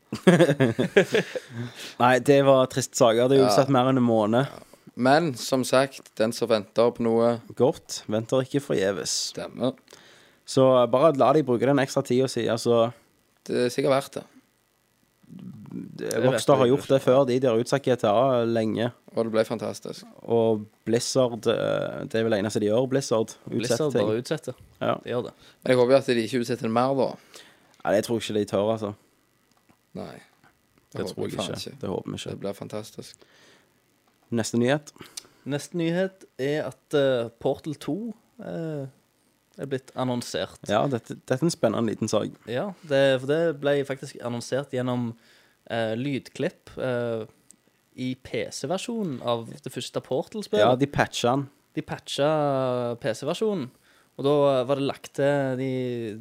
Nei, det var trist saker. Det er jo
Ja.
utsatt mer enn en måned.
Men som sagt, den som venter på noe,
Godt. Venter ikke forgjeves.
stemmer.
Så bare la de bruke den ekstra tida si. Altså,
Det er sikkert verdt det.
vet
Rockstar
jeg
har
ikke.
gjort det før. De de har utsatt GTA lenge.
Og det ble fantastisk.
Og Blizzard eh, Det er vel det eneste de gjør, Blizzard. Utsette
Blizzard
ting.
bare utsetter.
Ja.
De gjør det.
Men jeg håper jo at de ikke utsetter det mer, da.
Nei, det tror jeg ikke de tør, altså.
Nei.
Det
håper
tror jeg
faen
ikke. Det håper vi
Det
ikke.
blir fantastisk.
Neste nyhet.
Neste nyhet er at eh, Portal 2 eh, er blitt annonsert.
Ja, dette, dette er en spennende liten sak.
Ja, det, for det ble faktisk annonsert gjennom eh, lydklipp eh, i PC-versjonen av det første Portal-spillet.
Ja, de patcha den.
de patcha PC-versjonen. Og da var det lagt til de,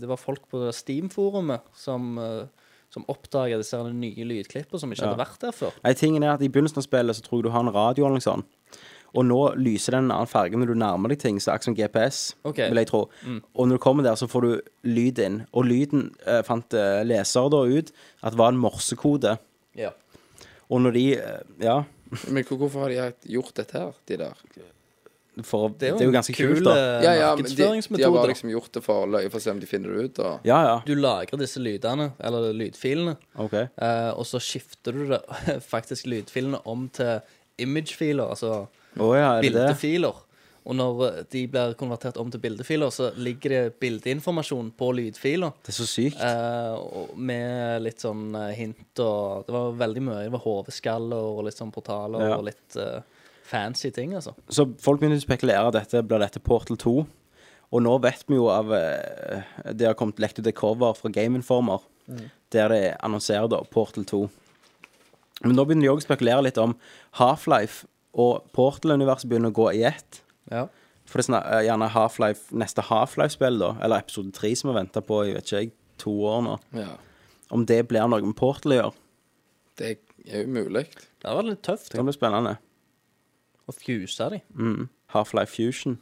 Det var folk på Steam-forumet som, eh, som oppdaga disse her nye lydklippene som ikke
Ja.
hadde vært der før.
Nei, tingen er at I begynnelsen av spillet så tror jeg du har en radio, eller noe sånt. Og nå lyser den en annen farge når du nærmer deg ting, så akkurat som GPS,
Ok.
vil jeg tro. Og når du kommer der, så får du lyd inn. Og lyden eh, fant eh, lesere da ut at var en morsekode.
Ja.
Og når de eh, Ja,
Men hvor- hvorfor har de hatt- gjort dette her, de der?
for det er jo, ganske
kul,
kult, da.
eh,
Ja, ja, men de, de har
markedsføringsmetode.
bare
da.
liksom gjort det for å løye, for å se om de finner det ut, da.
Ja, ja.
Du lagrer disse lydene, eller lydfilene,
OK.
eh, og så skifter du det, faktisk lydfilene om til imagefiler, altså
Å ja, er det det?
bildefiler. Og når de blir konvertert om til bildefiler, så ligger det bildeinformasjon på lydfiler.
Det er så sykt.
eh, og med litt sånn eh, hint og Det var veldig mye. Det var hodeskaller og litt sånn portaler
Ja.
og litt eh, fancy ting, altså.
Så folk begynner å spekulere at dette blir dette Portal 2. Og nå vet vi jo av eh, Det har kommet lekt ut et cover fra Game Informer der det annonserer da Portal 2. Men nå begynner de òg å spekulere litt om Half-Life og Portal-universet begynner å gå i ett.
Ja.
For det er sånn, eh, gjerne Half-Life, neste Half-Life-spill, da, eller episode 3 som vi venter på i vet ikke jeg, to år nå,
Ja.
om det blir noe med Portal å gjøre.
Det er jo mulig.
Det hadde vært litt tøft
Det kan bli spennende.
å fuse de.
Mm. Half-Life Fusion.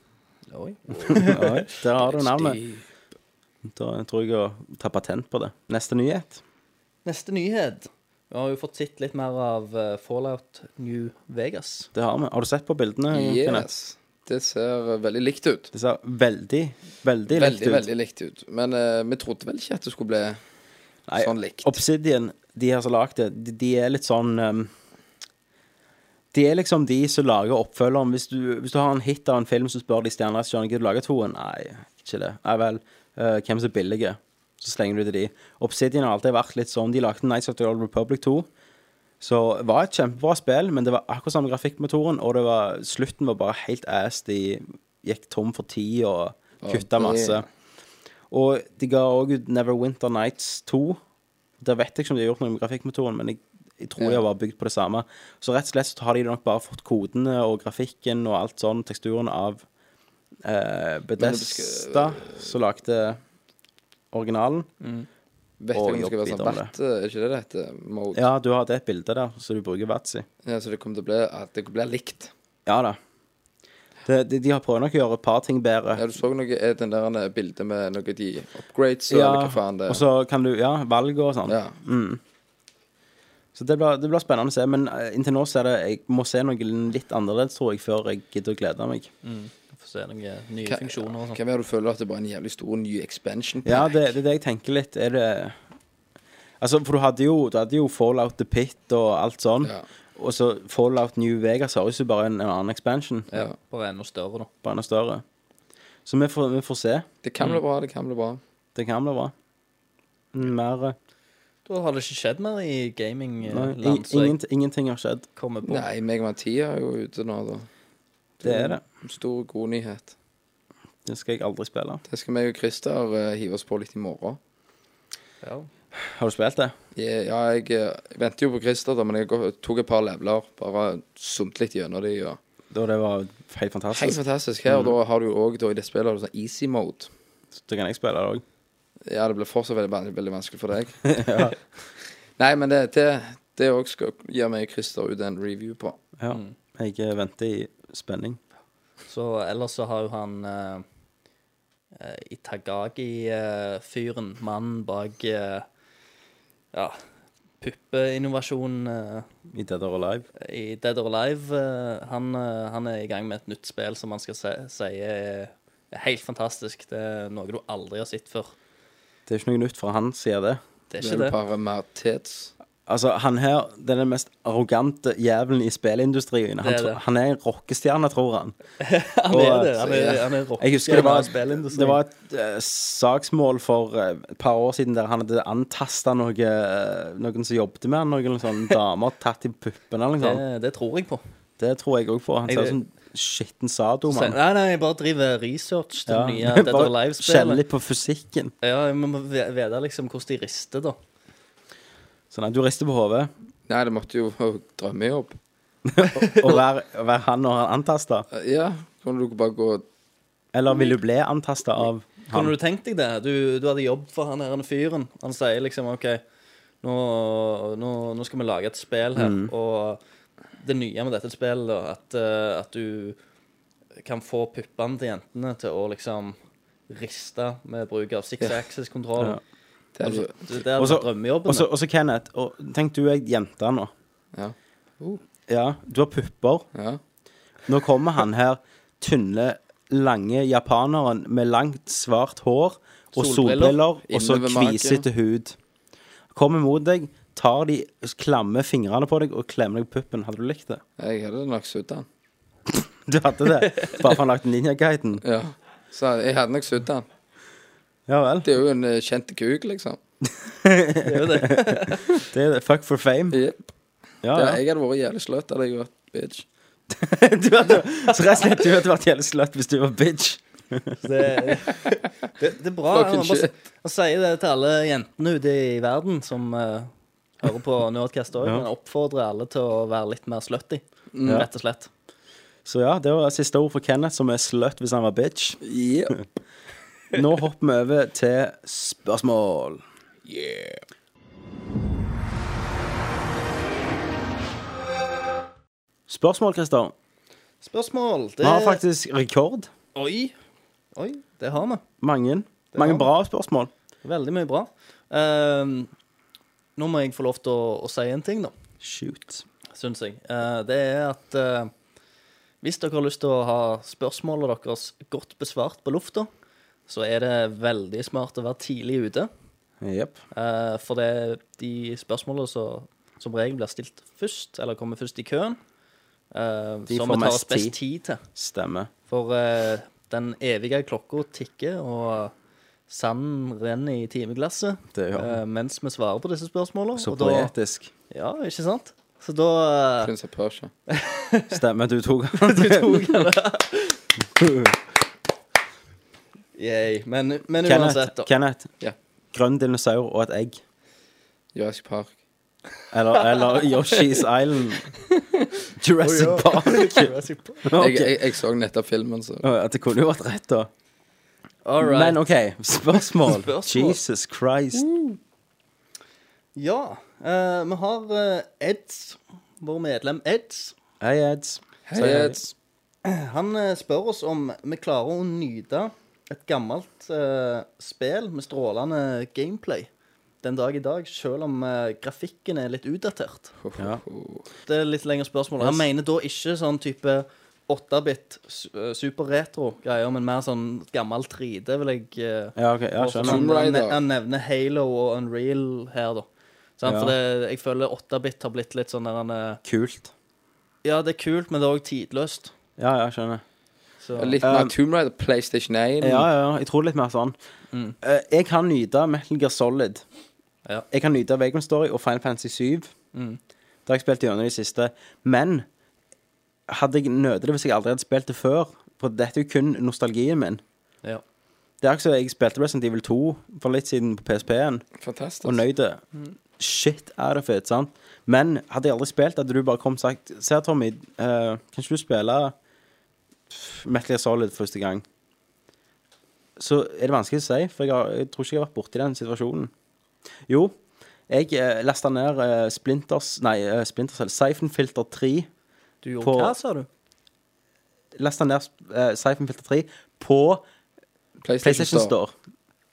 Oi.
Oi, der har du navnet. Da tror jeg å ta patent på det. Neste nyhet.
Neste nyhet. Vi har jo fått sett litt mer av eh, Fallout New Vegas.
Det har vi. Har du sett på bildene? Kenneth?
Yes. Det ser veldig likt ut.
Det ser veldig, veldig,
Veldig,
likt ut.
veldig likt ut. Men eh, vi trodde vel ikke at det skulle bli
Nei,
sånn likt.
Obsidian, de her som lagde det, de, de er litt sånn um, De er liksom de som lager oppfølgeren. Hvis du, hvis du har en hit av en film, så spør de stjerner Stjerne, gidder du lage toen? Nei, ikke det. Nei vel. eh, hvem som er billige? Så slenger du til de. Obsidian har alltid vært litt sånn. De lagde Nights of the Old Republic 2. Så det var et kjempebra spill, men det var akkurat samme grafikkmotoren, og det var, slutten var bare helt ass. De gikk tom for tid og kutta
det-
masse. Og de ga òg ut Neverwinter Nights 2. Der vet jeg ikke om de har gjort noe med grafikkmotoren, men jeg, jeg tror de har bare bygd på det samme. Så rett og slett så har de nok bare fått kodene og grafikken og alt sånn, teksturen av eh, Bedesta, som lagde originalen.
Vet
Og
du om det skal
jobb
være sånn
videre med
vert, er ikke det det heter? Mode. Ja.
Ja, du har det et bilde der, så du bruker Vats i.
så det kommer til å bli at det blir likt.
Ja da. Det, de, de har prøvd nok å gjøre et par ting bedre.
Ja, du så noe er den der eh, bildet med noe de upgrades og eller hva faen det
og så kan du Ja, valg og sånn.
Ja.
Så det blir, det blir spennende å se. Men eh, inntil nå så er det Jeg må se noe litt annerledes, tror jeg, før jeg gidder å glede meg.
Få se noen nye
Hva-
funksjoner og sånn.
Hvem er det du føler at det bare er en jævlig stor ny expansion?
Ja, det, det er det jeg tenker litt. Er det Altså, for du hadde jo, du hadde jo Fallout The Pit og alt sånn.
Ja.
Og så Fallout New Vegas høres jo bare en, en annen expansion.
Ja.
Bare enda større, da.
Bare enda større. Så vi får, vi får se.
Det kan bli
Mm.
bra, det kan bli bra.
Det kan bli bra. Mer eh,
Da har det ikke skjedd mer i
nei,
gamingland,
ing-
så jeg
ingent- Ingenting har skjedd.
kommer på.
Nei, Megaman 10 er jo ute nå, da.
Det er det.
Stor, god nyhet.
Det skal jeg aldri spille.
Det skal meg og Christer eh, hive oss på litt i morgen.
Ja.
Har du spilt det?
Jeg, ja, jeg eh, venter jo på Christer, da, men jeg går- tok et par leveler. Bare sumt litt gjennom de. Ja.
Da det var helt
Helt
fantastisk.
fantastisk. Her
Mm.
da har du jo òg i det spillet har du sånn easy mode.
Da kan jeg spille det òg.
Ja, det blir fortsatt veldig, veldig, veldig vanskelig for deg. Nei, men det, det, det også skal gi meg og Christer ut en review på.
Ja.
Mm.
Jeg eh, venter i spenning.
Så ellers så har jo han eh, eh, Itagaki-fyren, mannen bak eh, Ja, puppeinnovasjon eh,
I Dead or Alive.
i Dead or Alive. eh, han, eh, han er i gang med et nytt spill som han skal si si er er helt fantastisk. Det er noe du aldri har sett før.
Det er ikke noe nytt fra han, sier det.
Det er
Det
ikke
er
det.
jo bare mer tets.
Altså, han her, det er den mest arrogante jævelen i spillindustrien. Han,
Det er
tro-
det.
han er en rockestjerne, tror han. eh,
Han er det. Han er, han er
Jeg husker det var,
rockestjerne.
det var et eh, saksmål for eh, et par år siden der han hadde antasta noe, eh, noen som jobbet med han, noen sånne damer tatt i puppene eller noe sånt.
det, det tror jeg på.
Det tror jeg òg på. Han
Jeg-
ser ut som skitten sado,
Så,
mann.
nei, nei, jeg bare driver research til
Ja.
nye Dead or
Bare kjenn
Alive-spillet.
litt på fysikken.
Ja, jeg må ve- vite liksom hvordan de rister, da.
Sånn at du rister på hodet.
Nei, det måtte jo være drømmejobb.
Og vær, vær han når han antasta.
Eh, Ja, kan du ikke bare gå
Eller vil du bli antasta av han?
Kunne du tenkt deg det? Du, du hadde jobb for han her han fyren. Han sier liksom OK, nå, nå, nå skal vi lage et spill her.
Mm.
Og det nye med dette spillet, da, at, eh, at du kan få puppene til jentene til å liksom riste med bruk av six axis-kontroll. Altså,
Ja. altså,
Det er jo
Det er
Og så-
drømmejobben.
Og så- og så Kenneth, og tenk du er jente nå.
Ja.
Ja, du har pupper.
ja.
Nå kommer han her, tynne, lange japaneren med langt, svart hår og
Solbriller
solbriller og så
inne ved maken.
kvisete hud. Kommer mot deg, tar de klamme fingrene på deg og klemmer deg på puppen. Hadde du likt det?
Jeg hadde nok sudd den.
Du hadde det? Bare for han lagde ninja-guiden?
Ja. Så jeg hadde nok sudd den.
Ja vel.
Det er jo en eh, kjent kuk, liksom.
Det er jo det.
Det er det. Fuck for fame.
Jepp.
Ja,
Ja,
ja.
jeg hadde vært jævlig sløtt, hadde jeg vært bitch.
Du hadde, så rett og slett, du hadde vært jævlig sløtt hvis du var bitch.
Det, det, det er bra.
Fucking
Han, bare,
shit.
han sier det til alle jentene ute i verden som eh, hører på Nerdcast òg.
Ja.
Han oppfordrer alle til å være litt mer slutty,
Ja.
rett og slett.
Så ja, det var siste ord for Kenneth, som er sløtt hvis han var bitch.
Jepp.
Nå hopper vi over til spørsmål. Spørsmål, Christer.
Spørsmål.
Vi
Det
har faktisk rekord.
Oi. Oi, det har vi.
Mange. Mange
har
bra spørsmål.
Veldig mye bra. Ehm, nå må jeg få lov til å, å si en ting, da,
Shoot.
syns jeg. Eh, det er at eh, hvis dere har lyst til å ha spørsmålene deres godt besvart på lufta, så er det veldig smart å være tidlig ute.
Jepp.
Eh, for det, de spørsmålene som som regel blir stilt først, eller kommer først i køen, eh,
De
som
får
vi tar oss
mest
best tid til.
Stemmer.
For eh, den evige klokka tikker, og sanden renner i timeglasset
Det gjør den.
eh, mens vi svarer på disse spørsmålene.
Så
og da,
poetisk.
ja, ikke sant? Så da eh,
Prins av Persia.
Stemmer, du tok den. Du tok den.
Yay. Men, men uansett,
Kenneth,
da.
Kenneth.
Ja.
grønn dinosaur og et egg.
Jurassic Park.
Eller, eller Yoshi's Island. Jurassic Park.
Jeg,
Ok.
jeg, jeg så nettopp filmen, så
Å, At det kunne jo vært rett, da.
All right.
Men OK, spørsmål.
Spørsmål.
Jesus Christ.
Ja. eh, vi har eh, Eds, vår medlem Eds.
Hei, Eds.
Hei, Eds.
Han eh, spør oss om vi klarer å nyte et gammelt eh, spill med strålende gameplay den dag i dag, selv om eh, grafikken er litt utdatert.
Ja.
Det er eh, litt lengre spørsmål. Han mener da ikke sånn type 8-bit su- eh, super-retro-greier, men mer sånn gammel 3D, vil jeg eh,
Ja, ok, ja,
han,
skjønner.
Tomb
han,
Raider.
han nevner Halo og Unreal her, da.
Ja.
Sant? For det, jeg føler 8-bit har blitt litt sånn der han eh,
Kult.
Ja, det er kult, men det er òg tidløst.
Ja, ja, skjønner.
Så
Litt mer
Um,
Tomb Raider, PlayStation 1.
Mm.
Ja, ja, ja, jeg tror litt mer sånn. Eh, jeg kan nyte Metal Gear Solid.
Ja. Mm.
Jeg kan nyte Vagrant Story og Final Fantasy 7. Det har jeg spilt gjennom de siste. Men hadde jeg nødet det hvis jeg aldri hadde spilt det før? For dette er jo kun nostalgien min.
ja.
Det er ikke så jeg spilte Resident Evil 2 for litt siden på PSP-en.
Fantastisk.
og nøyd det. Shit out of it, sant? Men hadde jeg aldri spilt, hadde du bare kommet og sagt Se, Tommy, eh, kan ikke du spille Metal Gear Solid første gang? Så er det vanskelig å si, for jeg, har, jeg tror ikke jeg har vært borti den situasjonen. Jo, jeg eh, lasta ned eh, Splinters Nei, eh, Splinters eller Siphon Filter 3.
Du gjorde
På-
hva, sa du?
Lasta ned eh, Siphon Filter 3 på PlayStation Store.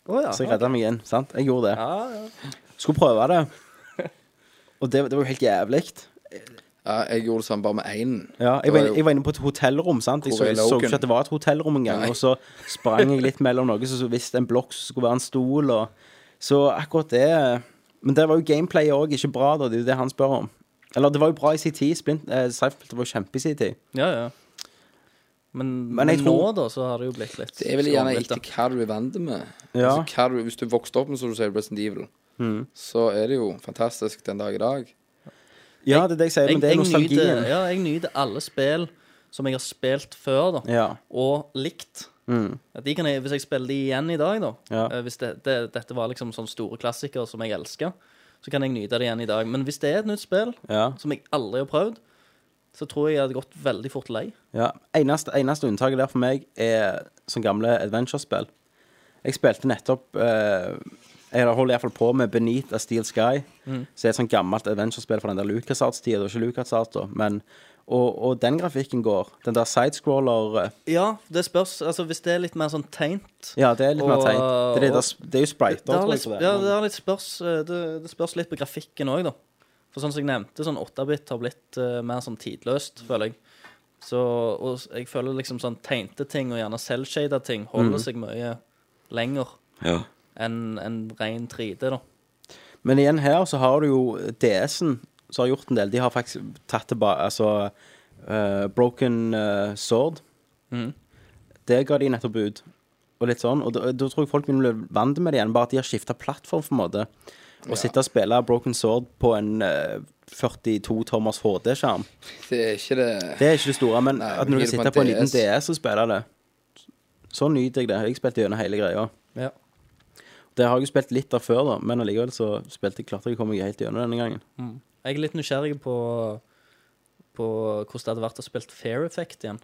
Å ja.
Så jeg redda meg inn, sant? Jeg gjorde det.
Ja, ja.
Skulle prøve det. Og det, det var jo helt jævlig.
Ja, jeg gjorde det samme bare med én.
Ja, jeg, var
Det var
inne,
jo-
jeg var inne på et hotellrom. sant? Jeg så,
Hvor er
jeg så
Logan?
ikke at det var et hotellrom engang.
Nei.
Og så sprang jeg litt mellom noe som visste en blokk som skulle være en stol. Og, så akkurat det Men der var jo gameplayet òg ikke bra, da. Det er jo det han spør om. Eller det var jo bra i sin tid. Splint- eh, Seinfeld var jo kjempe i sin tid.
Ja, ja. Men,
Men
men,
jeg tror-
nå, da, så har det jo blitt litt
Det er vel gjerne
skånblitt, da.
etter hva du er vant med.
Ja. Mm.
Altså, hva du, hvis du vokste opp med, som du sier, Resident Evil, så er det jo fantastisk den dag i dag.
Ja, det er det jeg sier, men det er nostalgien.
Nyter, ja, jeg nyter alle spill som jeg har spilt før, da,
Ja. Mm.
og likt. At De kan jeg, hvis jeg spiller de igjen i dag, da
Ja.
eh, Hvis det, det, dette var liksom sånne store klassikere som jeg elsker, så kan jeg nyte det igjen i dag. Men hvis det er et nytt spill
ja.
som jeg aldri har prøvd, så tror jeg jeg hadde gått veldig fort lei.
Ja, eneste, eneste unntaket der for meg er sånn gamle adventure-spill. Jeg spilte nettopp eh, Jeg holder iallfall på med Beneath a Steel Sky,
Mm.
som er et sånn gammelt adventure-spill fra den der LucasArts-tida. Det var ikke LucasArts da, men og, og den grafikken går. Den der sidescroller eh,
Ja, det spørs. Altså, hvis det er litt mer sånn teint
Ja, det er litt mer
Og-
teit. Det, er det, der, det er jo spriter,
Det, har
tror jeg.
litt,
på det.
ja, det, har litt spørs, eh, det, det spørs litt på grafikken òg, da. For sånn som jeg nevnte, sånn 8-bit har blitt eh, mer sånn
Mm.
tidløst, føler jeg. Så og s- jeg føler liksom sånn tegnte ting og gjerne selvshada ting holder
Mm.
seg mye lenger enn enn ren 3D, da.
Men igjen her så har du jo DS-en som har gjort en del. De har faktisk tatt tilbake Altså eh, Broken eh, Sword. Det ga de nettopp ut. Og litt sånn Og da, da tror jeg folk begynner å bli vant med det igjen. Bare at de har skifta plattform, på en måte. Å sitte og spille Broken Sword på en eh, 42 tommers HD-skjerm,
Det er ikke det
det er ikke det store. Men
Nei,
at
men
når
gir
du
det på
sitter
en
på en liten
DS?
DS og spiller det, så nyter jeg det. Jeg spilte gjennom hele greia.
Ja.
Det har jeg jo spilt litt av før, da, men allikevel så spilte jeg klarte jeg å komme meg helt gjennom denne gangen.
Jeg er litt nysgjerrig på, på hvordan det hadde vært å spille Fair Effect igjen.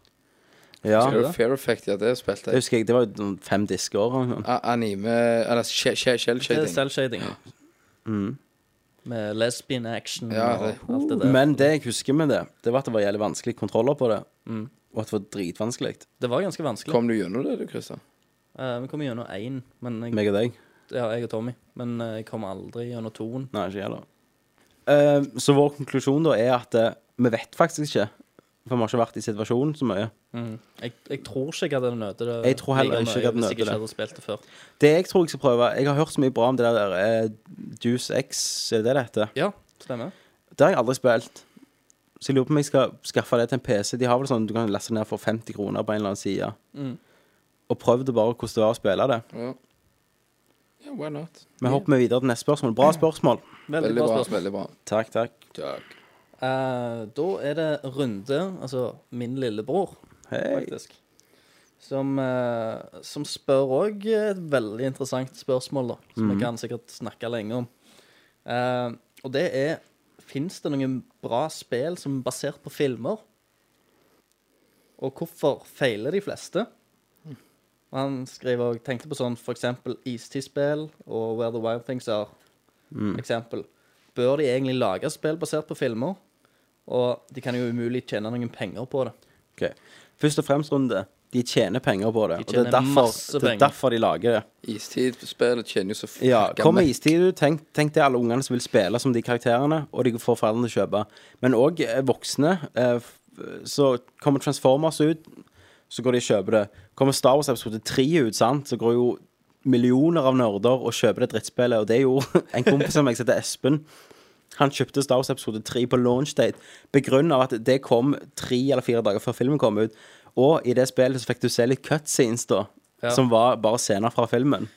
Ja.
Fair- Fair Effect, ja, det spilte
Det
jeg.
husker jeg, det var jo noen fem disker sånn. eller noe sånt.
A- Anime Eller shell- shell-
Det er
shell-shading.
selvshading. Med lesbian action
Ja, det-
og alt det der.
Men Mm. det jeg husker med det, det var at det var jævlig vanskelig kontroller på det. Og at det var dritvanskelig.
det var ganske vanskelig.
Kom du gjennom det, du, Christian?
Eh, vi kom gjennom én, men jeg
Meg og deg.
Ja, jeg og Tommy. Men eh, jeg kommer aldri gjennom toen.
Nei, ikke jeg heller. Eh, så vår konklusjon da er at eh, vi vet faktisk ikke. For vi har ikke vært i situasjonen så mye.
Jeg, jeg tror ikke jeg hadde nødt det.
Mm. Jeg tror heller
like
ikke jeg
mye
hadde
hvis
nødt
jeg ikke
det.
hadde spilt det før.
Det jeg tror jeg skal prøve Jeg har hørt så mye bra om det der eh, Juice X, er det det det heter?
Ja, stemmer.
Det har jeg aldri spilt. Så jeg lurer på om jeg skal skaffe det til en PC. De har vel sånn du kan laste ned for 50 kroner på en eller annen side.
Mm.
Og prøv det bare hvordan det var å spille det.
Ja. ja, why not?
Vi hopper videre til neste spørsmål. Bra spørsmål.
Veldig,
Veldig
bra
bra.
spørsmål.
Veldig bra.
Takk, takk.
Takk.
Eh, da er det Runde, altså min lillebror,
Hei.
faktisk, som, eh, som spør òg et veldig interessant spørsmål, da, som vi kan sikkert snakke lenge om. Eh, og det er Fins det noen bra spill som er basert på filmer? Og hvorfor feiler de fleste? Og han skriver og tenkte på sånn for eksempel Istid-spill og Where the Wild Things Are. Eksempel. Bør de egentlig lage spill basert på filmer? Og de kan jo umulig tjene noen penger på det.
Ok. Først og fremst, Runde, de tjener penger på det.
De
og det er,
tjener masse
derfor, det er
penger.
derfor de lager det.
Istidspillet tjener jo så fucka
Ja, Kommer
mett.
istid, du. Tenk, tenk til alle ungene som vil spille som de karakterene, og de får foreldrene til å kjøpe. Men òg voksne. eh, f- Så kommer Transformers ut, så går de og kjøper det. Kommer Star Wars episode 3 ut, sant, så går jo millioner av nerder og kjøper det drittspillet. Og det gjorde en kompis av meg som heter Espen. Han kjøpte Star Wars episode 3 på launchdate begrunna av at det kom tre eller fire dager før filmen kom ut. Og i det spillet så fikk du se litt cutscenes, da.
Ja.
Som var bare scener fra filmen.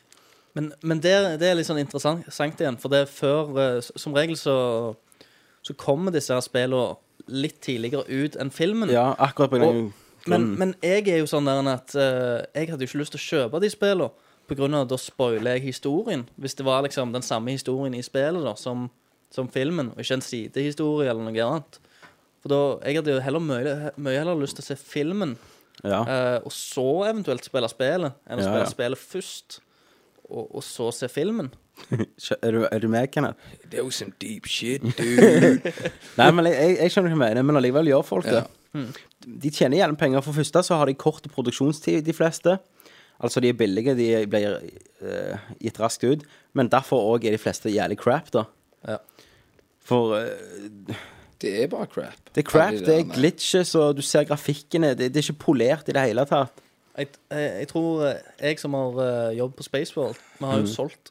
Men, men det, det er litt sånn interessant sant igjen, for det er før eh, s- Som regel så, så kommer disse her spillene litt tidligere ut enn filmen.
Ja, Mm. akkurat på grunn
Og- Men, men jeg er jo sånn der enn at eh, jeg hadde jo ikke lyst til å kjøpe de spillene, på grunn av at da spoiler jeg historien. Hvis det var liksom den samme historien i spillet da, som, som filmen, og ikke en sidehistorie eller noe annet. For da, Jeg hadde jo heller mye, mye heller lyst til å se filmen,
ja.
eh, og så eventuelt spille spillet, enn å
Ja,
spille
ja.
spillet først, og, og så se filmen.
Skjø- Er du, er du med, Kenneth?
Det er jo some deep shit, dude.
Nei, men jeg, jeg, jeg skjønner hva du mener, men allikevel gjør folk det. De tjener gjerne penger. For det første så har de kort produksjonstid, de fleste. Altså de er billige, de blir eh, gitt raskt ut. Men derfor òg er de fleste jævlig crap, da.
Ja.
For eh,
Det er bare crap.
det er crap,
Alle de
det er
der-
glitches, og du ser grafikkene. Det, det er ikke polert i det hele tatt.
Jeg, jeg, jeg tror eh, jeg som har eh, jobb på Spaceworld Vi har
Mm.
jo solgt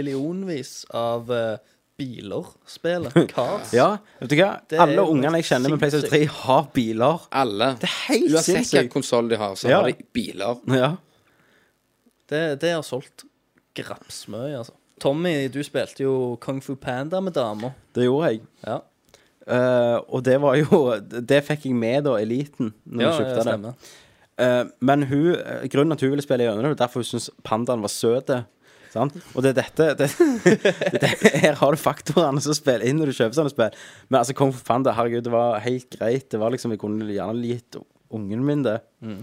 millionvis av eh, biler, spillet, Cars.
Ja, vet du hva?
Det er
Alle
jo
ungene jeg kjenner med PlayStation 3, har biler.
Alle.
Det er helt
Uansett hvilken
sinnssykt.
konsoll de har, så
Ja.
har de biler.
Ja.
Det, det har solgt grapsmøye, altså. Tommy, du spilte jo Kung Fu Panda med dama.
Det gjorde jeg.
Ja,
Eh, og det var jo Det fikk jeg med, da, eliten, når vi
ja,
kjøpte
ja,
det.
stemmer.
Eh, men hun, eh, grunnen at hun ville spille gjennom det, var derfor hun syntes pandaen var søt. Sant? Og det er dette det, det, det, Her har du faktorene som spiller inn når du kjøper sånne spill. Men altså, Kung Fu Panda, herregud, det var helt greit. Det var liksom, Jeg kunne gjerne gitt ungen min det.
Mm.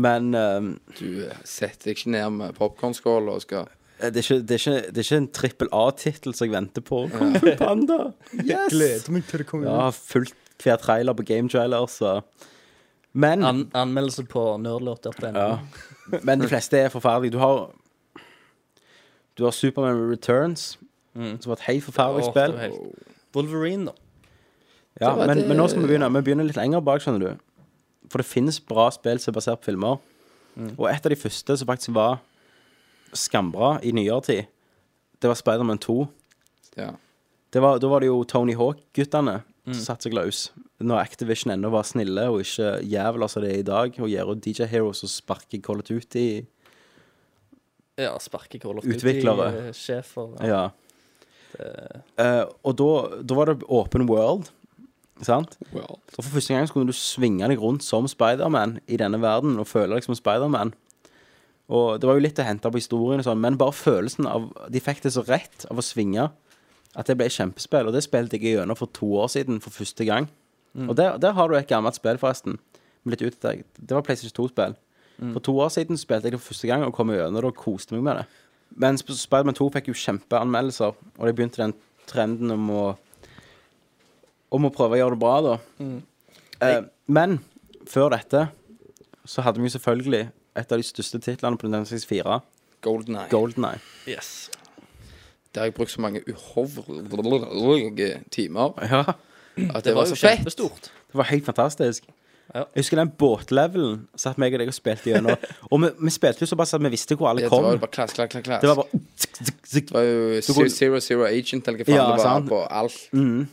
Men eh,
Du eh, setter deg ikke ned med popkornskål og skal
Eh, det, er ikke, det, er ikke, det er ikke en trippel A-tittel som jeg venter på. Kung Fu Panda! Yes!
meg til det kommer
Ja, fulgt hver trailer på Game Trailer, så Men
An anmeldelse på nerdlåt.no.
Ja. Men de fleste er forferdelige. Du har Du har Superman Returns, som var et helt forferdelig
Mm. Åh, det
spill.
var helt- Wolverine, da.
Ja,
Det var
men,
det-
men nå skal vi
eh,
begynne. Vi begynner litt lenger bak, skjønner du. For det finnes bra spill som er basert på filmer.
Mm.
Og et av de første som faktisk var skambra i nyere tid, det var Spiderman 2.
Ja.
Det var, da var det jo Tony Hawk-guttene
Mm.
som satte seg løs. Når Activision ennå var snille og ikke jævler som det er i dag, og gjør ut DJ Heroes og sparker Call of Duty
Ja, sparke Call of
Utviklere.
Duty, eh, sjefer. Ja.
Ja. Eh, og da, da var det open world, sant?
Well.
Og for første gang så kunne du svinge deg rundt som Spiderman i denne verden og føle deg som Spiderman. Og det var jo litt å hente på historien, og sånn, men bare følelsen av De fikk det så rett av å svinge at det ble kjempespill. Og det spilte jeg gjennom for to år siden for første gang. Og der, der har du et gammelt spill, forresten. Med litt utdatert. Det var PlayStation 2-spill. For to år siden spilte jeg det for første gang og kom gjennom det og koste meg med det. Men Sp- Spiderman 2 fikk jo kjempeanmeldelser, og det begynte den trenden om å Om å prøve å gjøre det bra, da. Eh, men før dette så hadde vi jo selvfølgelig et av de største titlene på Nintendo 64,
Golden Eye.
Golden Eye.
Yes.
Det har jeg brukt så mange uhorvelige timer
Ja.
at
Det
det, var,
var jo
så fett.
kjempestort.
Det var helt fantastisk.
Ja.
Jeg husker den båtlevelen satt meg og deg og spilte gjennom. og vi, vi spilte jo såpass at vi visste hvor alle
Det
kom.
var jo bare klass, klass, klass, klass.
Det var bare zik, zik, zik.
Det var jo
Du kunne-
Zero Zero Agent eller hva faen
Ja,
det var
sant.
på alt.
Mm.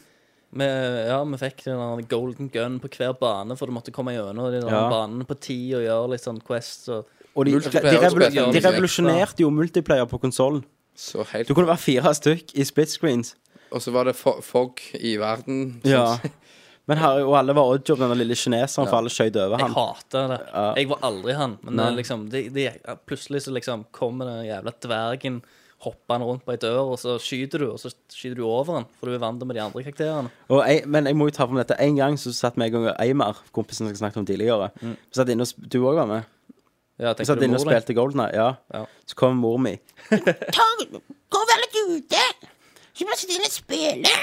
Vi, ja, vi fikk den der golden gun på hver bane, for du måtte komme gjennom de der
Ja.
banene på ti og gjøre litt sånn quests og
Og de, de,
Multiplayer
revolu
spilte vi
de
mye.
revolusjonerte jo multiplayer på konsollen.
Så helt
Du kunne være fire stykk i split screens.
Og så var det fo- fog i verden.
Ja. Men her, og alle var Oddjob, den lille kineseren, for alle skjøt over
Jeg
han.
hater det. Jeg var aldri han. Men
Nei.
det, liksom, det, det, ja, plutselig så liksom kommer den jævla dvergen hoppende rundt på ei dør, og så skyter du, og så skyter du over han, for du er vant med de andre karakterene.
Og jeg, men jeg må jo ta fram dette. En gang så satt meg og Eimar, kompisen som jeg snakket om tidligere Vi satt inne og, sp- Du òg var med?
Ja,
Vi
tenker
satt
du
inne og
Mm. mor deg?
spilte Golden Eye. Ja.
Ja.
Så kom mor mi.
Gå være litt ute. Ikke bare sitte inne og spille.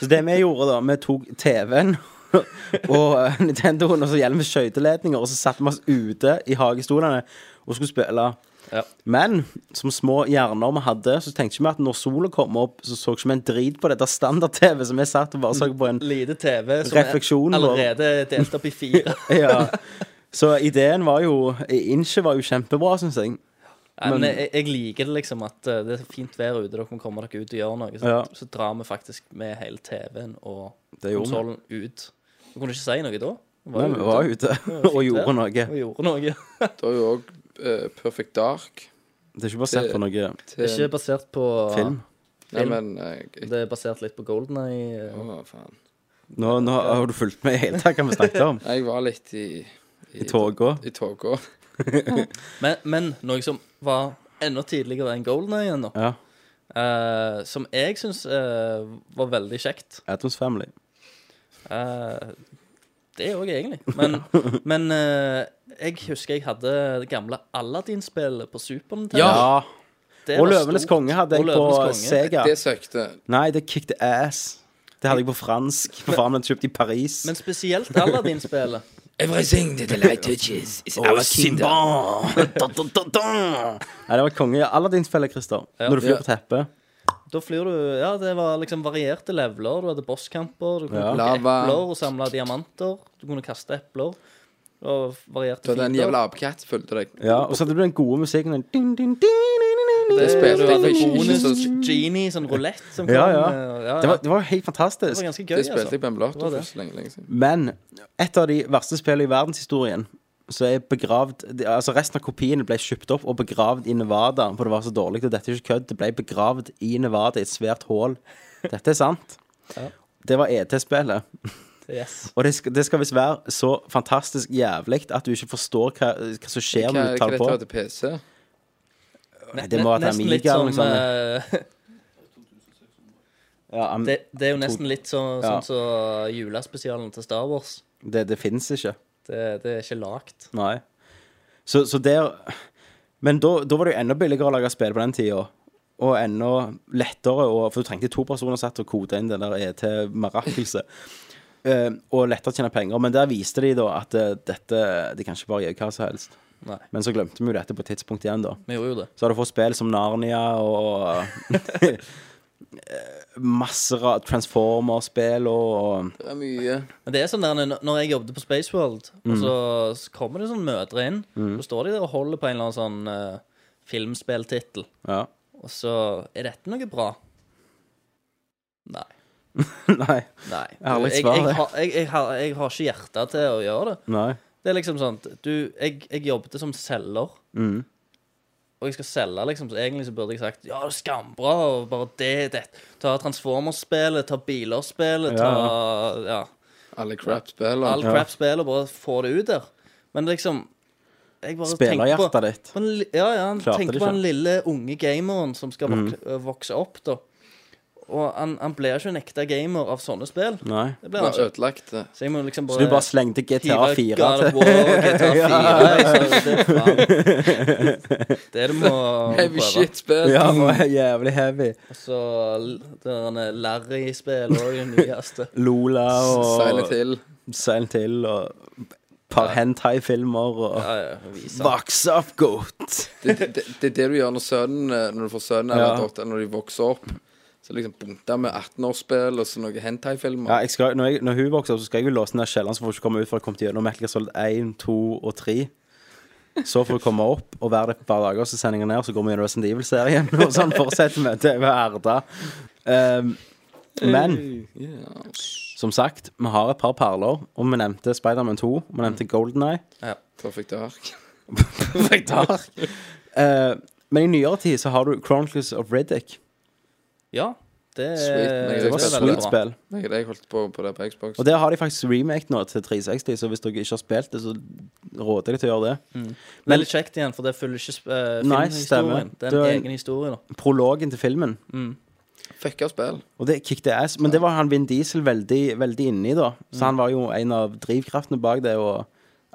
Så det vi gjorde, da Vi tok TV-en og eh, Nintendoen, og så gjelder vi skøyteledninger, og så satte vi oss ute i hagestolene og skulle spille.
Ja.
Men som små hjerner vi hadde, så tenkte vi at når sola kom opp, så så ikke vi en drit på dette standard-TV som vi satt og bare så på en
Lite TV som
Refleksjonen
er allerede delt opp i fire.
Ja. Så ideen var jo Inche var jo kjempebra, syns jeg.
Nei, men
Men-
jeg, jeg liker det liksom at eh, det er fint vær ute, dere må komme dere ut og gjøre noe. Så,
Ja.
så drar vi faktisk med hele TV-en og
Det gjorde vi.
konsollen ut. Du kunne ikke si noe da. Vi
Nei, vi var ute og gjorde noe.
Vi gjorde noe.
Det var jo òg Perfect Dark.
Det er ikke basert på noe
Til,
Ikke basert på
film.
Nei, men eh, jeg-
Det er basert litt på Golden Eye. eh,
Å, faen.
Nå, nå har du fulgt med i hele tatt hva vi snakket om.
Jeg var litt i
I toga.
I toga.
Men, men noe som var enda tidligere enn Golden Eye ennå,
Ja.
eh, som jeg syns var veldig kjekt.
Adams Family.
Eh, det òg, egentlig. Men, men eh, jeg husker jeg hadde det gamle Aladdin-spillet på Super Nintendo.
Ja.
Det
Og
var
Løvenes
stort.
konge hadde
Og
jeg på
Løvenes konge.
Sega.
Det søkte.
Nei, det kick the ass. Det hadde jeg på fransk. For faen, den kjøpt i Paris.
Men spesielt Aladdin-spillet.
Everything that the light touches is
Å, Simba! Da, da, da, da. Nei, det var konge. Aladdin-spillet, Christer. Når du flyr
Ja.
på teppet.
Da flyr du Ja, det var liksom varierte leveler. Du hadde bosskamper. Du kunne
Ja.
plukke
Lava.
epler og samle diamanter. Du kunne kaste epler. Og varierte
Det var den
fiender.
jævla apekatt fulgte deg.
Ja, og så hadde du den gode musikken den ding, ding, ding, ding, ding, ding.
Det spilte
Du
jeg
hadde
for ikke, ikke
bonus
så
genie, sånn rulett som kom.
Ja, ja.
eh, ja, ja.
Det var, det var jo helt
Det
fantastisk.
var ganske gøy, altså.
Det spilte jeg på
Det var
emulator
det.
for så lenge, liksom. lenge siden.
Men et av de verste spillene i verdenshistorien så er begravd de- Altså Resten av kopiene ble kjøpt opp og begravd i Nevada, for det var så dårlig. Og dette er ikke kødd. Det ble begravd i Nevada i et svært hull. Dette er sant.
Ja.
Det var ET-spillet.
altså. Yes.
Og det skal, det skal visst være så fantastisk jævlig at du ikke forstår hva, hva som skjer
Hva,
når du
hva
tar det
dette
på.
var til PC?
Ne-
Det må
ne-
være
nesten
Amiga liksom.
litt
eller noe
som, eh,
Ja, am-
det,
det,
det er jo nesten litt så,
Ja.
sånn som julespesialen til Star Wars.
det, finnes ikke.
Det, det er ikke lagd.
Nei. Så, så der Men da, da var det jo enda billigere å lage spill på den tida. Og enda lettere, å- for du trengte to personer satt og kodet inn det der ET-marakelset. Eh, og lettere å tjene penger. Men der viste de da at eh, dette De kan ikke bare gjøre hva som helst.
Nei.
Men så glemte vi jo dette på et tidspunkt igjen, da.
Vi gjorde jo det.
Så har du fått spill som Narnia og eh, Masser av Transformer-spill og
Det er mye.
Men det er sånn der, når- Når jeg jobbet på Spaceworld,
Mm.
og så s- kommer det sånn mødre inn, så står de der og holder på en eller annen sånn eh, filmspilltittel,
Ja.
og så Er dette noe bra? Nei.
Nei.
Nei.
Ærlig
jeg,
svar,
jeg,
det.
har- jeg, jeg, har, jeg har ikke hjerte til å gjøre det.
Nei.
Det er liksom sånn Du, jeg, jeg jobbet som selger.
Mm.
Og jeg skal selge, liksom, så egentlig så burde jeg sagt ja, det er skambra, og bare det, det. Ta Transformers-spillet, ta Biler-spillet, ta ja,
Alle crap-spillene.
all crap-spillet, og bare få det ut der. Men liksom jeg bare tenker på-
Spillerhjertet ditt.
på en, li- ja, ja, han
Klarte
tenker
det
på
ikke. Mm.
den lille unge gameren som skal vok øh, vokse opp, da. Og han, han blir ikke en ekte gamer av sånne spill.
Nei.
Det blir han
Bare
ikke.
ødelagt det.
Så jeg må liksom
Så du bare slengte GTA 4
God of
til
War og GTA 4. liksom. Det er faen. Det du må
Heavy
prøve.
shit-spill.
Ja, det var jævlig heavy.
Og så denne Larry-spill òg, det nyeste.
Lola og
Seile til.
Silent Hill og et par hentai-filmer og
Ja, ja, vis han.
Vox up, goat!
Det, det, det er det du gjør når sønnen eh, Når du får sønnen
Ja.
eller datteren når de vokser opp. Så liksom bunta med 18-årsspill og så noen
Ja,
hentai-filmer.
jeg skal, når, jeg, når hun vokser opp, så skal jeg jo låse ned kjelleren, så får hun ikke komme ut før jeg kommer til gjennom Metal Gear Solid 1, 2 og 3. Så får hun komme opp og være der et par dager, så sender jeg henne ned, og så går vi gjennom Resident Evil-serien. Og sånn fortsetter vi til vi er erda. Um, men som sagt, vi har et par perler, og vi nevnte Spiderman 2, og vi nevnte Golden Eye.
Perfekt ark.
Eh, men i nyere tid så har du Chronicles of Riddick.
Ja, det er
Sweet, men jeg
Det var
Det er
et
veldig
sweet spill.
Det er det jeg holdt på på det på Xbox.
Og det har de faktisk remake nå til 360, så hvis dere ikke har spilt det, så råder jeg deg til å gjøre det.
Men litt kjekt igjen, for det følger ikke sp- eh,
Nei,
filmhistorien.
stemmer.
Det er
Du
en
er-
egen historie, da.
Prologen til filmen,
Fucka spill.
og det kick the ass. Men det var han Vin Diesel veldig, veldig inne i, da. Så han var jo en av drivkraftene bak det, og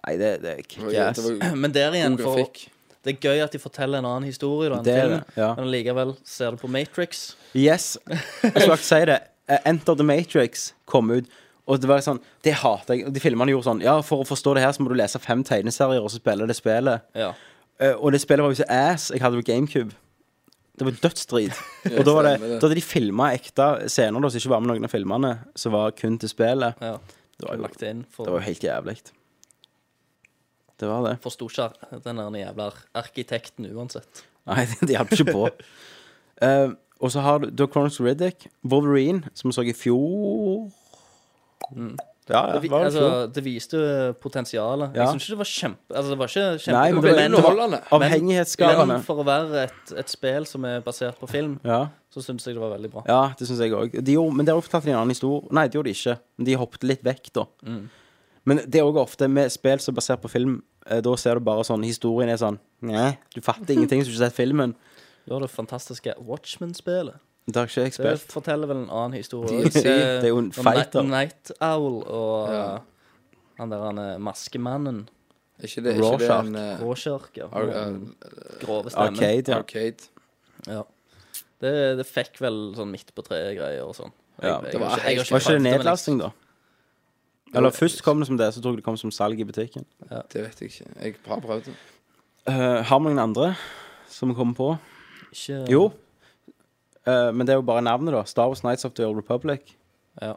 Nei, det, det er kick
Det var,
the ass.
det var
Men der igjen,
god
for
grafikk.
det er gøy at de forteller en annen historie, da, enn
Det er
filmen.
det, ja.
Men likevel ser du på Matrix.
Yes. Jeg skulle ikke si det. Eh, Enter the Matrix kom ut. Og det var sånn, det hater jeg. Og De filmene gjorde sånn Ja, for å forstå det her, så må du lese fem tegneserier, og så spille det spillet.
Ja.
Eh, og det spillet var jo så ass. Jeg hadde jo GameCube. Det var dødsdrit. Og da, var det,
stemmer det.
da hadde de filma ekte scener da, som ikke var med noen av filmene, som var kun til spillet.
ja.
Det var jo,
Lagt det inn
det var jo
for
helt jævlig. Det var det.
Forsto ikke ar- den der jævla arkitekten uansett.
Nei, det hjalp ikke på. Eh, og så har du du har Chronicles Riddick, Wolverine, som vi så i fjor Ja, ja,
Det, vi,
var det i fjor.
altså, det viste jo potensialet.
Ja,
Jeg syns ikke det var kjempe... Altså, det var ikke kjempe
Nei, men det var
Men-
underholdende.
men
Avhengighetsskapende.
for å være et, et spill som er basert på film,
Ja.
så syns jeg det var veldig bra.
ja, det syns jeg òg. De gjorde- men der fortalte de en annen historie. Nei, det gjorde de ikke. Men de hoppet litt vekk, da. Men det er òg ofte med spill som er basert på film, eh, da ser du bare sånn Historien er sånn Nei, du fatter ingenting hvis du ikke har sett filmen.
Du har det fantastiske Watchmen-spelet.
Det har ikke jeg
Det
spilt.
forteller vel en annen historie.
DLC,
også.
det er jo en
når
fighter.
Night, Night Owl og
Ja.
uh, han der han er maskemannen.
Er ikke det, er ikke det
Rorschach.
en eh,
Råkjørk. Ja.
ar- eh,
Den Grove stemmen.
Arcade, ja.
arcade?
Ja. Det, det fikk vel sånn midt på treet-greier og sånn.
Ja,
Jeg-
det
jeg
var
har jeg har
helt-
Var ikke det
fakta, men jeg-
nedlasting, da? Eller først kom det som det, så tror jeg det kom som salg i butikken.
Det vet jeg ikke. Jeg har prøvd det.
Eh, har vi noen andre som vi kommer på?
Ikke,
Jo. Eh, men det er jo bare navnet, da. Star Wars Nights of the Old Republic.
Ja.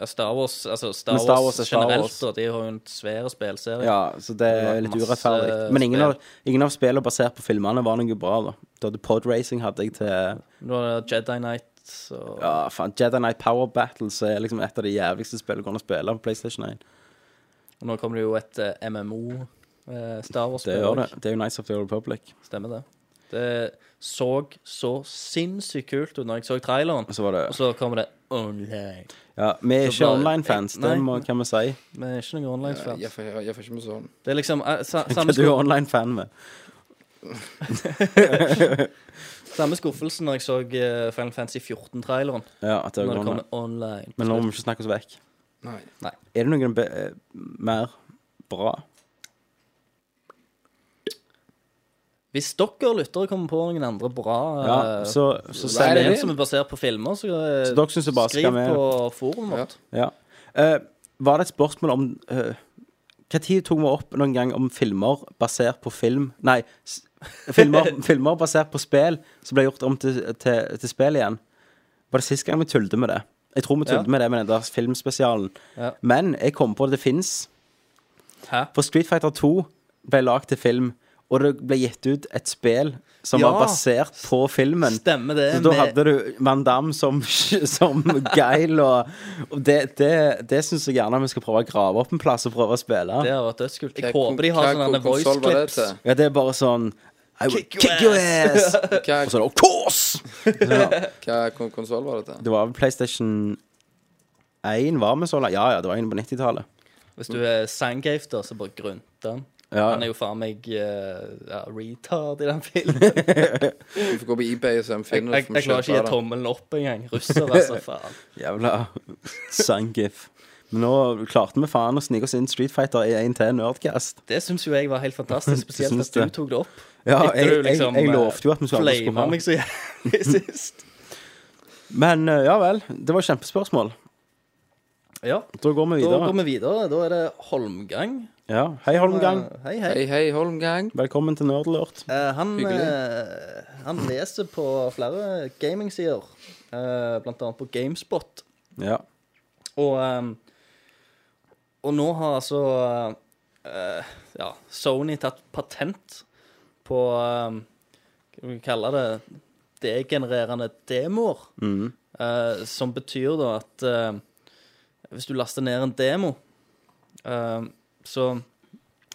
Ja, Star Wars, altså Star
Men Star
Wars
Wars er Star
generelt,
Wars.
da, de har jo en svær spillserie.
Ja, så det
Det
er
er
litt
masse
urettferdig. Men ingen av,
spill.
ingen av spillene basert på filmene var noe bra, da. Du hadde Podracing, hadde jeg til ja,
Nå er det Jedi Knight og
faen, Jedi Knight Power Battle, som er liksom et av de jævligste spillene du kan spille på PlayStation 1.
Og nå kommer det jo et eh, MMO. eh, Star Wars.
Det gjør det. Det er jo Nights of the Old Republic.
Stemmer det. Det så så sinnssykt kult ut når jeg så traileren.
Og så var det
Og så kommer det online.
Ja, vi er
Så
ikke
bare-
online-fans, det
Nei.
må, kan vi si.
Vi er ikke noen
Jeg,
online-fans.
jeg, får- jeg får ikke med sånn.
Det er liksom eh, sa,
Hva
samme,
du er
skuff,
online-fan med.
samme skuffelsen når jeg så eh, Final Fantasy 14-traileren.
Ja, at det er
Når det
online.
kommer online.
Men nå må vi ikke snakke oss vekk.
Nei.
Er det noen be eh, mer bra?
Hvis dere lyttere kommer på noen andre bra
Ja,
eh,
så, så
Send
send
Nei, det
en
er-
som er basert på filmer, så, eh,
Så dere synes det bare skal
skriv
med?
på forumet vårt.
Ja. Eh, var det et spørsmål om uh, Hva tid tok vi opp noen gang om filmer basert på film Nei, s filmer, filmer basert på spill som ble gjort om til, til, til spill igjen? Var det sist gang vi tullte med det? Jeg tror vi tullte
Ja.
med det med den der filmspesialen.
Ja.
Men jeg kom på at det fins.
Hæ?
For Street Fighter 2 ble lagd til film, og det ble gitt ut et spill som
Ja.
var basert på filmen.
Stemmer det.
Så da
med-
hadde du Van Damme som, som geil, og, og det, det, det syns jeg gjerne vi skal prøve å grave opp en plass og prøve å spille.
Det har vært dødskult. Jeg
Hva-
håper de har
hva-
sånne
hva konsol
voice
var det
clips.
til?
Ja, det er bare sånn I will
Kick your
kick, your ass!
Hva,
og så er det Of course!
hva kon- konsoll var det til?
Det var vel PlayStation 1 var vi så langt. Ja, ja, det var inne på 90-tallet.
Hvis du er Sandgave, da, så bare grunter han.
Ja.
Han er jo faen meg eh, ja, retard i den filmen.
Du får gå på eBay og se om
Jeg,
finner
jeg,
får vi
jeg klarer ikke å gi
kjøpe det.
tommelen opp engang. Russer, altså, faen.
Jævla sangif. Men nå klarte vi faen å snike oss inn Street Fighter i 1 til Nerdcast.
Det syns jo jeg var helt fantastisk, spesielt
Syns
at du
det.
tok det opp.
Ja,
Etter
jeg,
du
jeg,
liksom,
jeg
eh,
lovte jo at vi skulle aldri skulle
Flama
ha
meg så jævlig sist. liksom.
Men eh, ja vel. Det var kjempespørsmål.
Ja,
Da går vi
da
videre.
går vi videre. Da er det Holmgang.
Ja. Hei, Holmgang.
Eh, Hei, hei.
Hei, hei, Holmgang.
Velkommen til Nerdlurt.
Eh, han,
Hyggelig.
eh, han leser på flere gamingsider, eh, blant annet på Gamespot.
Ja.
Og, ehm, og nå har altså eh, ja, Sony tatt patent på um, Hva skal vi kalle det? Degenererende demoer. Eh, som betyr da at eh, hvis du laster ned en demo, eh, så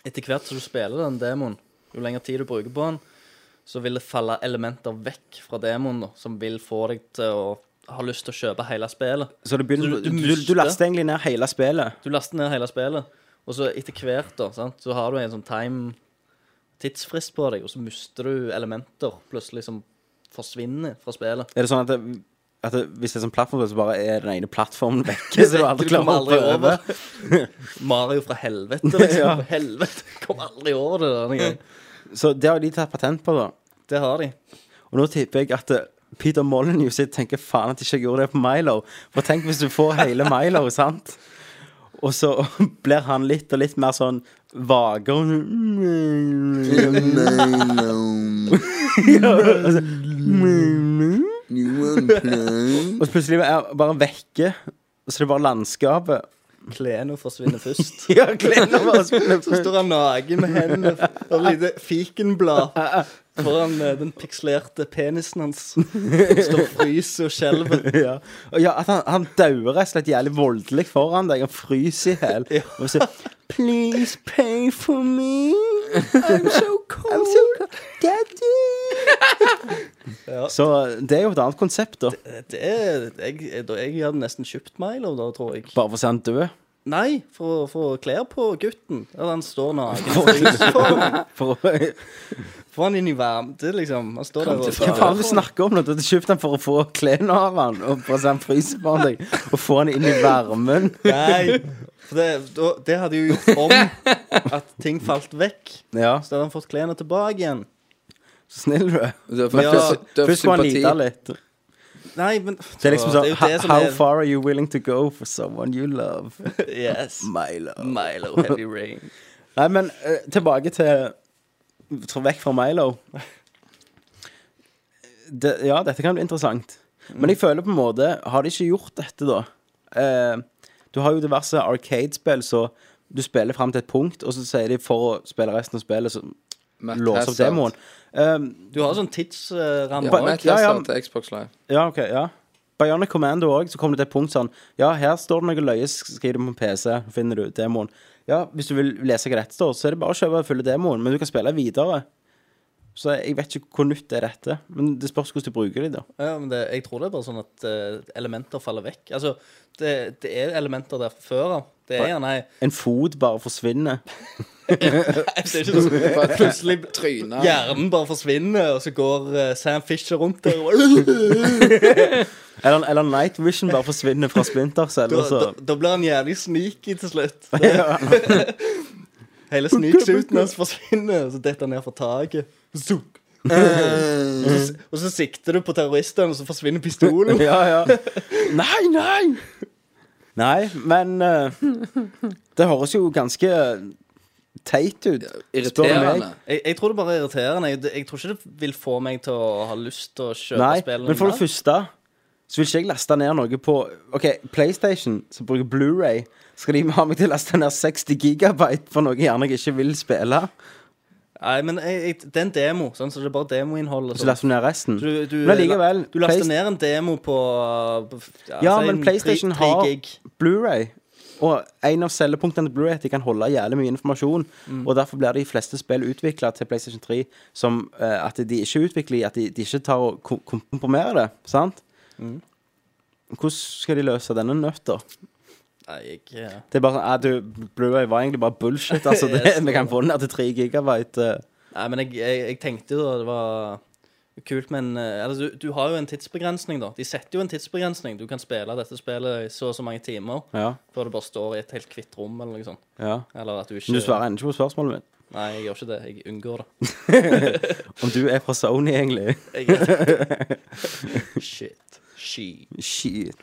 etter hvert som du spiller den demoen, jo lengre tid du bruker på den, så vil det falle elementer vekk fra demoen da, som vil få deg til å ha lyst til å kjøpe hele spillet.
Så det begynner,
Så
du,
du- du
du, du
mister-
laster egentlig ned hele spillet.
Du laster ned hele spillet, og så etter hvert da, sant, så har du en sånn time tidsfrist på deg, og så mister du elementer plutselig som forsvinner fra spillet.
Er det sånn at, det, at det, hvis det er sånn plattformspill, så bare er den ene plattformen vekke? Så du aldri
Du kommer
klarer å
aldri
prøve over?
Mario fra helvete, liksom.
Ja.
Fra Helvete, kom aldri over det denne gangen.
Så det har de tatt patent på, da.
Det har de.
Og nå tipper jeg at eh, Peter Molyneux sitter og tenker faen at ikke jeg gjorde det på Milo. For tenk hvis du får hele Milo, sant? Og så blir han litt og litt mer sånn vage og Og så plutselig er han bare vekke. Og så er det bare landskapet.
Kleno forsvinner først.
Ja, Glenn og bare spiller
Så står han naken med hendene og et lite fikenblad foran eh, den pikslerte penisen hans. Han står og fryser og skjelver.
ja. Og ja, at han, han dauer rett og slett jævlig voldelig foran deg. Han fryser i hjel. Og så Please pay for me. I'm so cold. Daddy.
Ja.
Så det er jo et annet konsept, da.
Det er, jeg, da- jeg hadde nesten kjøpt Milo da, tror jeg.
Bare for å se han dø.
Nei, for å få klær på gutten. Ja, han står naken.
For å,
Få han inn i varmte, liksom. Han står der og
hva
Ja,
faen er det du snakker om? nå? Du kjøpte han for å få klærne av han Og for å se han fryser på deg. Og få han inn i varmen.
Nei. For det, da- det hadde jo gjort om at ting falt vekk.
Ja,
Så hadde han fått klærne tilbake igjen.
så snill du er.
Du har fått
Ja,
døv- døv
Først må han
sympati.
lide litt.
Nei, men
Det er liksom
Så
sånn
det er jo det
"How-
som
How
er-
far are you willing to go for someone you love?
Yes.
My love.
Milo Heavy Rain.
Nei, men eh, tilbake til til- Vekk fra Milo. Det, ja, dette kan bli interessant. Men jeg føler på en måte Har de ikke gjort dette, da? Eh, du har jo diverse arcade-spill, så du spiller fram til et punkt, og så sier de for å spille resten av spillet, så
Matt
låser opp
Hazard.
demoen. Eh,
Du har sånn tidsramme
Ja,
Ba-
Matt
ja, ja.
Hazard til Xbox Live.
ja, OK, ja. Bionic Commando òg, så kommer det til et punkt sånn Ja, her står det noe løye, skriv det på en PC, finner du demoen. Ja, hvis du vil lese hva dette står, så er det bare å kjøpe og følge demoen, men du kan spille videre. Så jeg vet ikke hvor nytt er dette, men det spørs hvordan du bruker de, da.
Ja, men det, jeg tror det er bare sånn at eh, elementer faller vekk. Altså, det, det er elementer der fra før av. Det er gjerne ei
En fot bare forsvinner.
Det er ikke sånn
For at
plutselig
Tryna.
hjernen bare forsvinner, og så går eh, Sam Fisher rundt der. Og,
Eller, eller Night Vision bare forsvinner fra Splinter Cell. altså.
da,
og
da,
så-
da blir han jævlig sneaky til slutt. Det- Hele sneaksuiten hans forsvinner, og så detter han ned fra taket. Zunk. Eh, så- Og så sikter du på terroristene, og så forsvinner pistolen.
Ja, ja. Nei, nei! Nei, men eh, Det høres jo ganske teit ut.
Irriterende.
Jeg, jeg tror det bare er irriterende. Jeg, jeg tror ikke det vil få meg til å ha lyst til å kjøpe
Nei,
spillene.
men for det
mer.
første så vil ikke jeg laste ned noe på OK, PlayStation, som bruker Blu-ray Skal de ha meg til å laste ned 60 gigabyte for noe gjerne jeg ikke vil spille?
Nei, men jeg, jeg, det er en demo, sånn, så det er bare demoinnhold. og
Så
sånn.
laster du ned resten?
Du, du,
men allikevel
Du laster
Playst-
ned en demo på på-
Ja,
si
men
en
PlayStation
tre- tre
har
gig.
Blu-ray. Og en av selgepunktene til Blu-ray er at de kan holde jævlig mye informasjon.
Mm.
Og derfor blir de fleste spill utvikla til PlayStation 3 som eh, at de ikke utvikler i at de, de ikke tar og ko- komprimerer det. Sant?
Mm.
Hvordan skal de løse denne nøtta?
Nei, jeg, eh,
Det er bare sånn, eh, du, Blu-ray var egentlig bare bullshit. Altså, det,
Jeg så
vi kan få den ned til 3 gigabyte. eh.
nei, men jeg, jeg, jeg tenkte jo da det var kult, men eh, altså, du, du har jo en tidsbegrensning, da. De setter jo en tidsbegrensning. Du kan spille dette spillet i så og så mange timer
Ja,
før du bare står i et helt hvitt rom, eller noe sånt.
ja.
Eller at du ikke
Men du svarer ennå ikke på spørsmålet mitt.
Nei, jeg gjør ikke det. Jeg unngår det.
Om du er fra Sony, egentlig.
Shit. She.
Shit.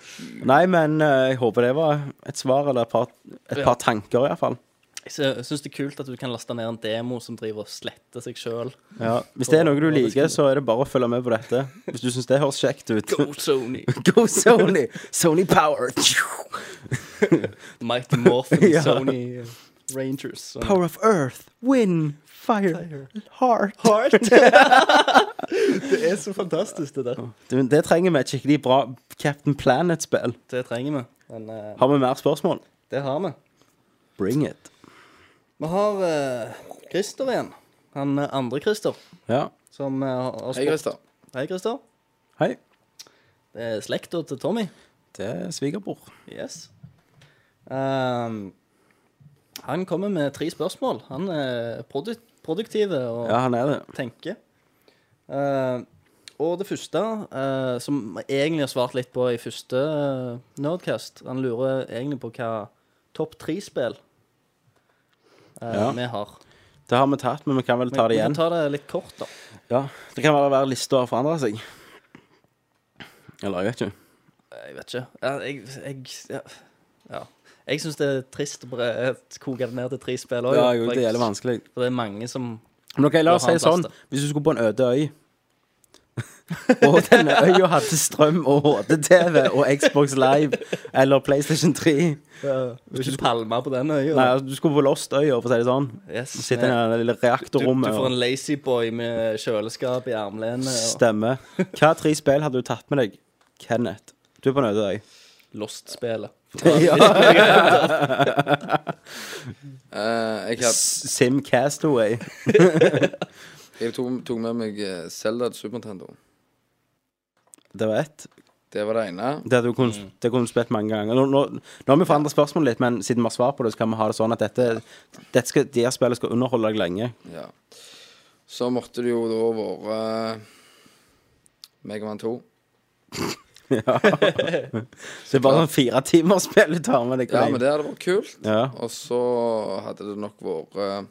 Nei, men eh, jeg håper det var et svar, eller et par, et par tanker, iallfall.
Jeg syns det er kult at du kan laste ned en demo som driver og sletter seg sjøl.
Ja. Hvis det er noe du
Og- og det
liker, så er det bare å følge med på dette. Hvis du syns det høres kjekt ut.
Go Sony!
Go Sony! Sony power!
Mighty Morphin
Ja.
Sony Rangers. Sånn.
Power of earth, wind, fire, heart.
Heart! det er så fantastisk, det der.
Du, det trenger vi et skikkelig bra Captain Planet-spill.
Det trenger vi. Men eh,
Har vi mer spørsmål?
det har vi.
Bring it.
Vi har eh, Christer igjen. Han eh, andre Christer
Ja.
som eh, har
Hei, Christer.
Hei, Christer.
Hei.
Det er slekta til Tommy.
Det er svigerbror.
Yes. Ehm, han kommer med tre spørsmål. Han er produ produktive og
Ja, han er det.
tenker. Eh, og det første, eh, som jeg egentlig har svart litt på i første eh, Nerdcast Han lurer egentlig på hva topp tre-spill eh,
Ja.
vi har.
Det har vi tatt, men vi kan vel ta det
vi kan
igjen.
ta det litt kort, da.
Ja. Det kan være hver lista har forandra seg. Eller jeg vet ikke.
Jeg vet ikke. Ja, Jeg, jeg, ja. Ja. jeg syns det er trist å bare koke det ned til tre spill òg.
Ja, jo, det gjelder vanskelig.
For det er mange som
Men ok, la oss
Da har
si
han
sånn
plass,
Hvis du skulle på en øde øy Og denne øya hadde strøm og HD-TV Og Xbox Live Eller Playstation 3 Nei,
Vil ikke palme på den øya. da.
altså, du skulle på Lost-øya, for å si det sånn
Yes.
Du sitter i det lille
du, du
reaktorrommet
får en
og
lazyboy med kjøleskap i armlenet. og
stemmer Hva tre spill hadde du tatt med deg, Kenneth? Du er på en øde øy
Lost-spelet.
Eh, jeg, had,
Sim Castaway
jeg tok, tok med meg eh, Zelda til Super Nintendo.
Det var ett
Det var det ene.
Det hadde du kunnet
Mm.
det kunne du spilt mange ganger Nå, nå, nå har vi forandret spørsmålet litt Men siden vi har svar på det Så kan vi ha det sånn at dette, dette skal, De her spillene skal underholde deg lenge
Ja. Så måtte det jo da være eh, Megaman 2.
Så det er bare sånn fire timer spill du tar med deg.
Ja, men det hadde vært kult.
ja.
Og så hadde det nok vært eh,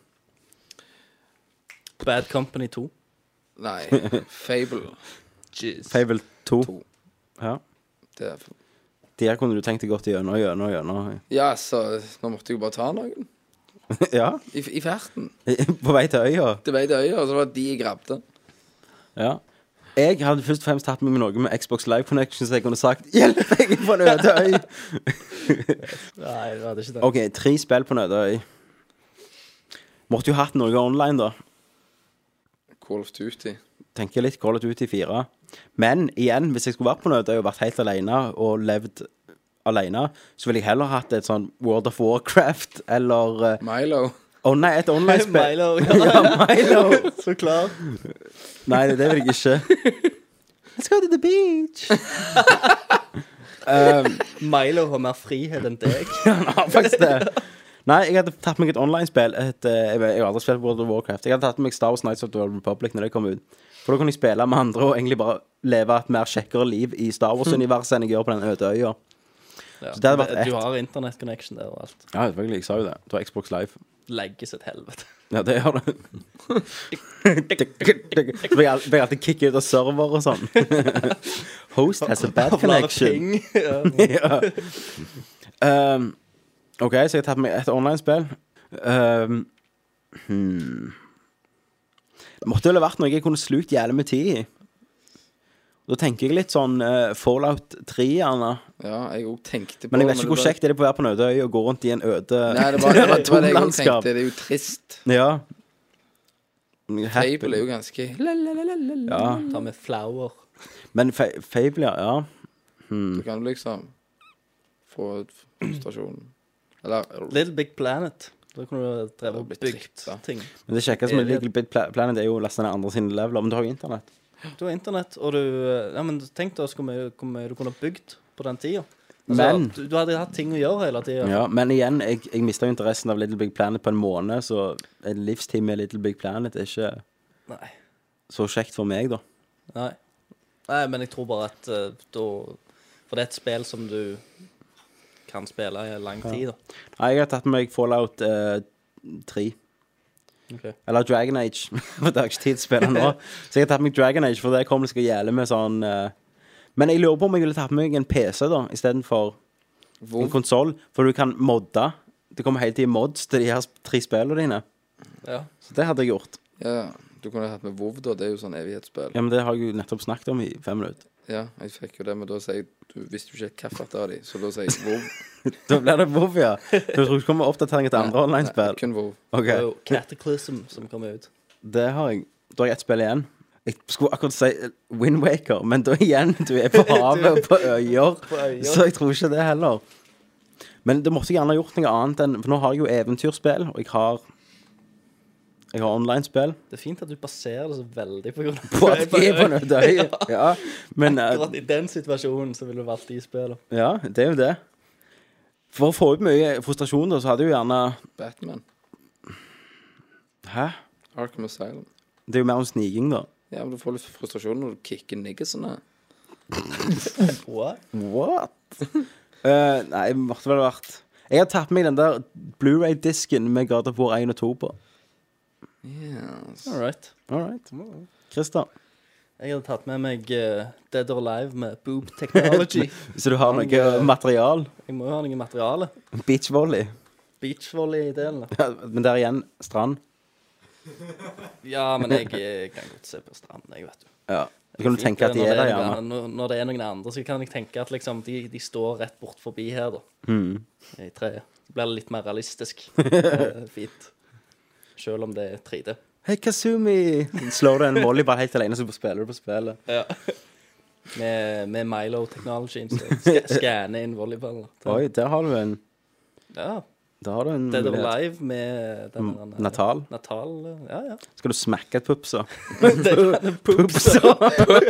Bad Company 2.
Nei, Fable.
Fable 2.
To.
Ja.
Det er
De her kunne du tenkt deg godt gjennom, gjennom, gjennom.
Ja, så nå måtte jeg jo bare ta noen.
Ja.
I, i ferten.
På vei til øya.
Det var i det øyet, og så var det de jeg grabbet.
Ja. Jeg hadde først og fremst hatt med meg noe med Xbox Live Connection, så jeg kunne sagt 'Hjelp meg på en øde øy'.
Nei, det hadde ikke det.
OK, tre spill på en øde øy. Måtte jo hatt noe online, da.
Call of Duty.
Tenker litt Call of Duty 4. Men igjen, hvis jeg skulle vært på en øde øy og vært helt alene og levd alene, så ville jeg heller hatt et sånn World of Warcraft eller eh,
Milo.
Å nei, et online-spill.
Milo. Ja, Milo. Så klar.
Nei, det vil jeg ikke. Let's go to the beach.
Milo har mer frihet enn deg.
Ja, faktisk det. Nei, jeg hadde tatt meg et online-spill. et, eh, Jeg vet- jeg har aldri spilt World of Warcraft. Jeg hadde tatt meg Star Wars Knights of the Old Republic når det kom ut. For da kunne jeg spille med andre og egentlig bare leve et mer kjekkere liv i Star Wars-universet enn jeg gjør på den øde øya.
Ja.
det hadde vært ett.
Du har internettconnection der og alt.
Ja, selvfølgelig. Jeg sa jo det. Det var Xbox Live.
Legges et helvete.
Ja, det gjør det. Så blir jeg- blir jeg alltid kicket ut av server og sånn. Host has a bad connection.
Ja.
ja. Ehm, OK, så jeg har tatt meg et online-spill. Um, hmm. Måtte vel ha vært noe jeg kunne slukt jævlig med tid i. Da tenker jeg litt sånn eh, Fallout 3, gjerne.
Ja, jeg òg tenkte på
Men jeg vet ikke hvor
det var-
kjekt er det på å være på en øde øy og gå rundt i en øde
Nei, det var det, var- det, var det jeg også
tomlandskap.
tenkte. Det er jo trist.
Ja.
Fable er jo ganske
ja.
Ta med flower.
Men Fa Fable, ja. Hmm. ja.
Du kan liksom få ut frustrasjonen. Eller
Little Big Planet. Da kunne du drevet og
Det hadde blitt
bygd
dritt, da.
ting.
Men det kjekkeste med Little Bit Pla- Planet er jo å laste ned andre sine leveler. Men du har jo internett.
Du har internett, og du eh, Ja, men tenk da så hvor mye hvor mye du kunne bygd på den tida. Altså,
Men-
du, du hadde hatt ting å gjøre hele tida.
Ja, men igjen, jeg, jeg mista jo interessen av Little Big Planet på en måned, så en livstid med Little Big Planet er ikke
Nei.
så kjekt for meg, da.
Nei. Nei, men jeg tror bare at eh, da For det er et spill som du kan spille i lang tid, da.
Nei, jeg har tatt med meg Fallout eh, 3.
Ok.
Eller Dragon Age, for det har jeg ikke tid til å spille nå. Så jeg har tatt med meg Dragon Age, for det kommer det skal gjelde med sånn eh, Men jeg lurer på om jeg ville tatt med meg en PC, da, istedenfor en
hvor
konsoll, for du kan modde. Det kommer hele tiden mods til de her tre spillene dine.
Ja.
Så det hadde jeg gjort.
Ja, du kunne hatt med WoW, da. Det er jo sånn evighetsspill.
Ja, Men det har jeg jo nettopp snakket om i fem minutter.
Ja, jeg fikk jo det, men da sier jeg Du visste jo ikke hvilket av de, så da sier jeg WoW.
Da blir det WoW, ja. Du tror ikke kommer oppdatering til andre
Nei,
online-spill?
Kun WoW.
Ok,
Det er jo Cataclysm som kommer ut.
det har jeg. Da har jeg ett spill igjen. Jeg skulle akkurat si Windwaker, men da igjen, du er på havet og på øyer,
øyer.
så jeg tror ikke det heller. Men det måtte jeg gjerne ha gjort noe annet enn For nå har jeg jo eventyrspill, og jeg har Jeg har online-spill.
Det er fint at du baserer det så veldig på grunn av
På at jeg er på en øde øy. Ja, men eh,
Akkurat i den situasjonen så ville du valgt de spillene.
Ja, det er jo det. For å få ut mye frustrasjon, da, så hadde jeg jo gjerne
Batman.
Hæ?
Arkham Asylum.
Det er jo mer om sniking, da.
Ja, men du får litt frustrasjon når du kicker niggersene.
What?
What? Eh, nei, det måtte vel ha vært Jeg har tatt med meg den der Blu-ray-disken med God of War 1 og 2 på.
Yes.
All right.
All right. Christer,
Jeg hadde tatt med meg eh, Dead or Alive med Boob Technology.
så du har
Han,
noe
eh,
material?
Jeg må jo ha noe materiale.
Beachvolley.
Beachvolley-delen. da.
Men der igjen, strand.
Ja, men jeg eh, kan godt se på stranden, jeg, vet du.
Ja. Da kan du
Fint,
tenke at de
når
er
det
der,
noen
gjerne.
an- Når, når det er noen andre, så kan jeg tenke at liksom de, de står rett bort forbi her, da.
Mm.
I treet. Så blir det litt mer realistisk. Eh, Fint. Selv om det er 3D.
Hei, Kazumi! Slår du en volleyball helt alene, så spiller du på spillet.
Med, med Milo-teknologien. Skanne inn volleyballer.
Oi, der har du en
Ja.
Der har du en
Dead or
mulighet. Mm,
Alive med den der-
Natal.
Natal, eh, ja, ja.
Skal du smekke et pups, da?
Poops.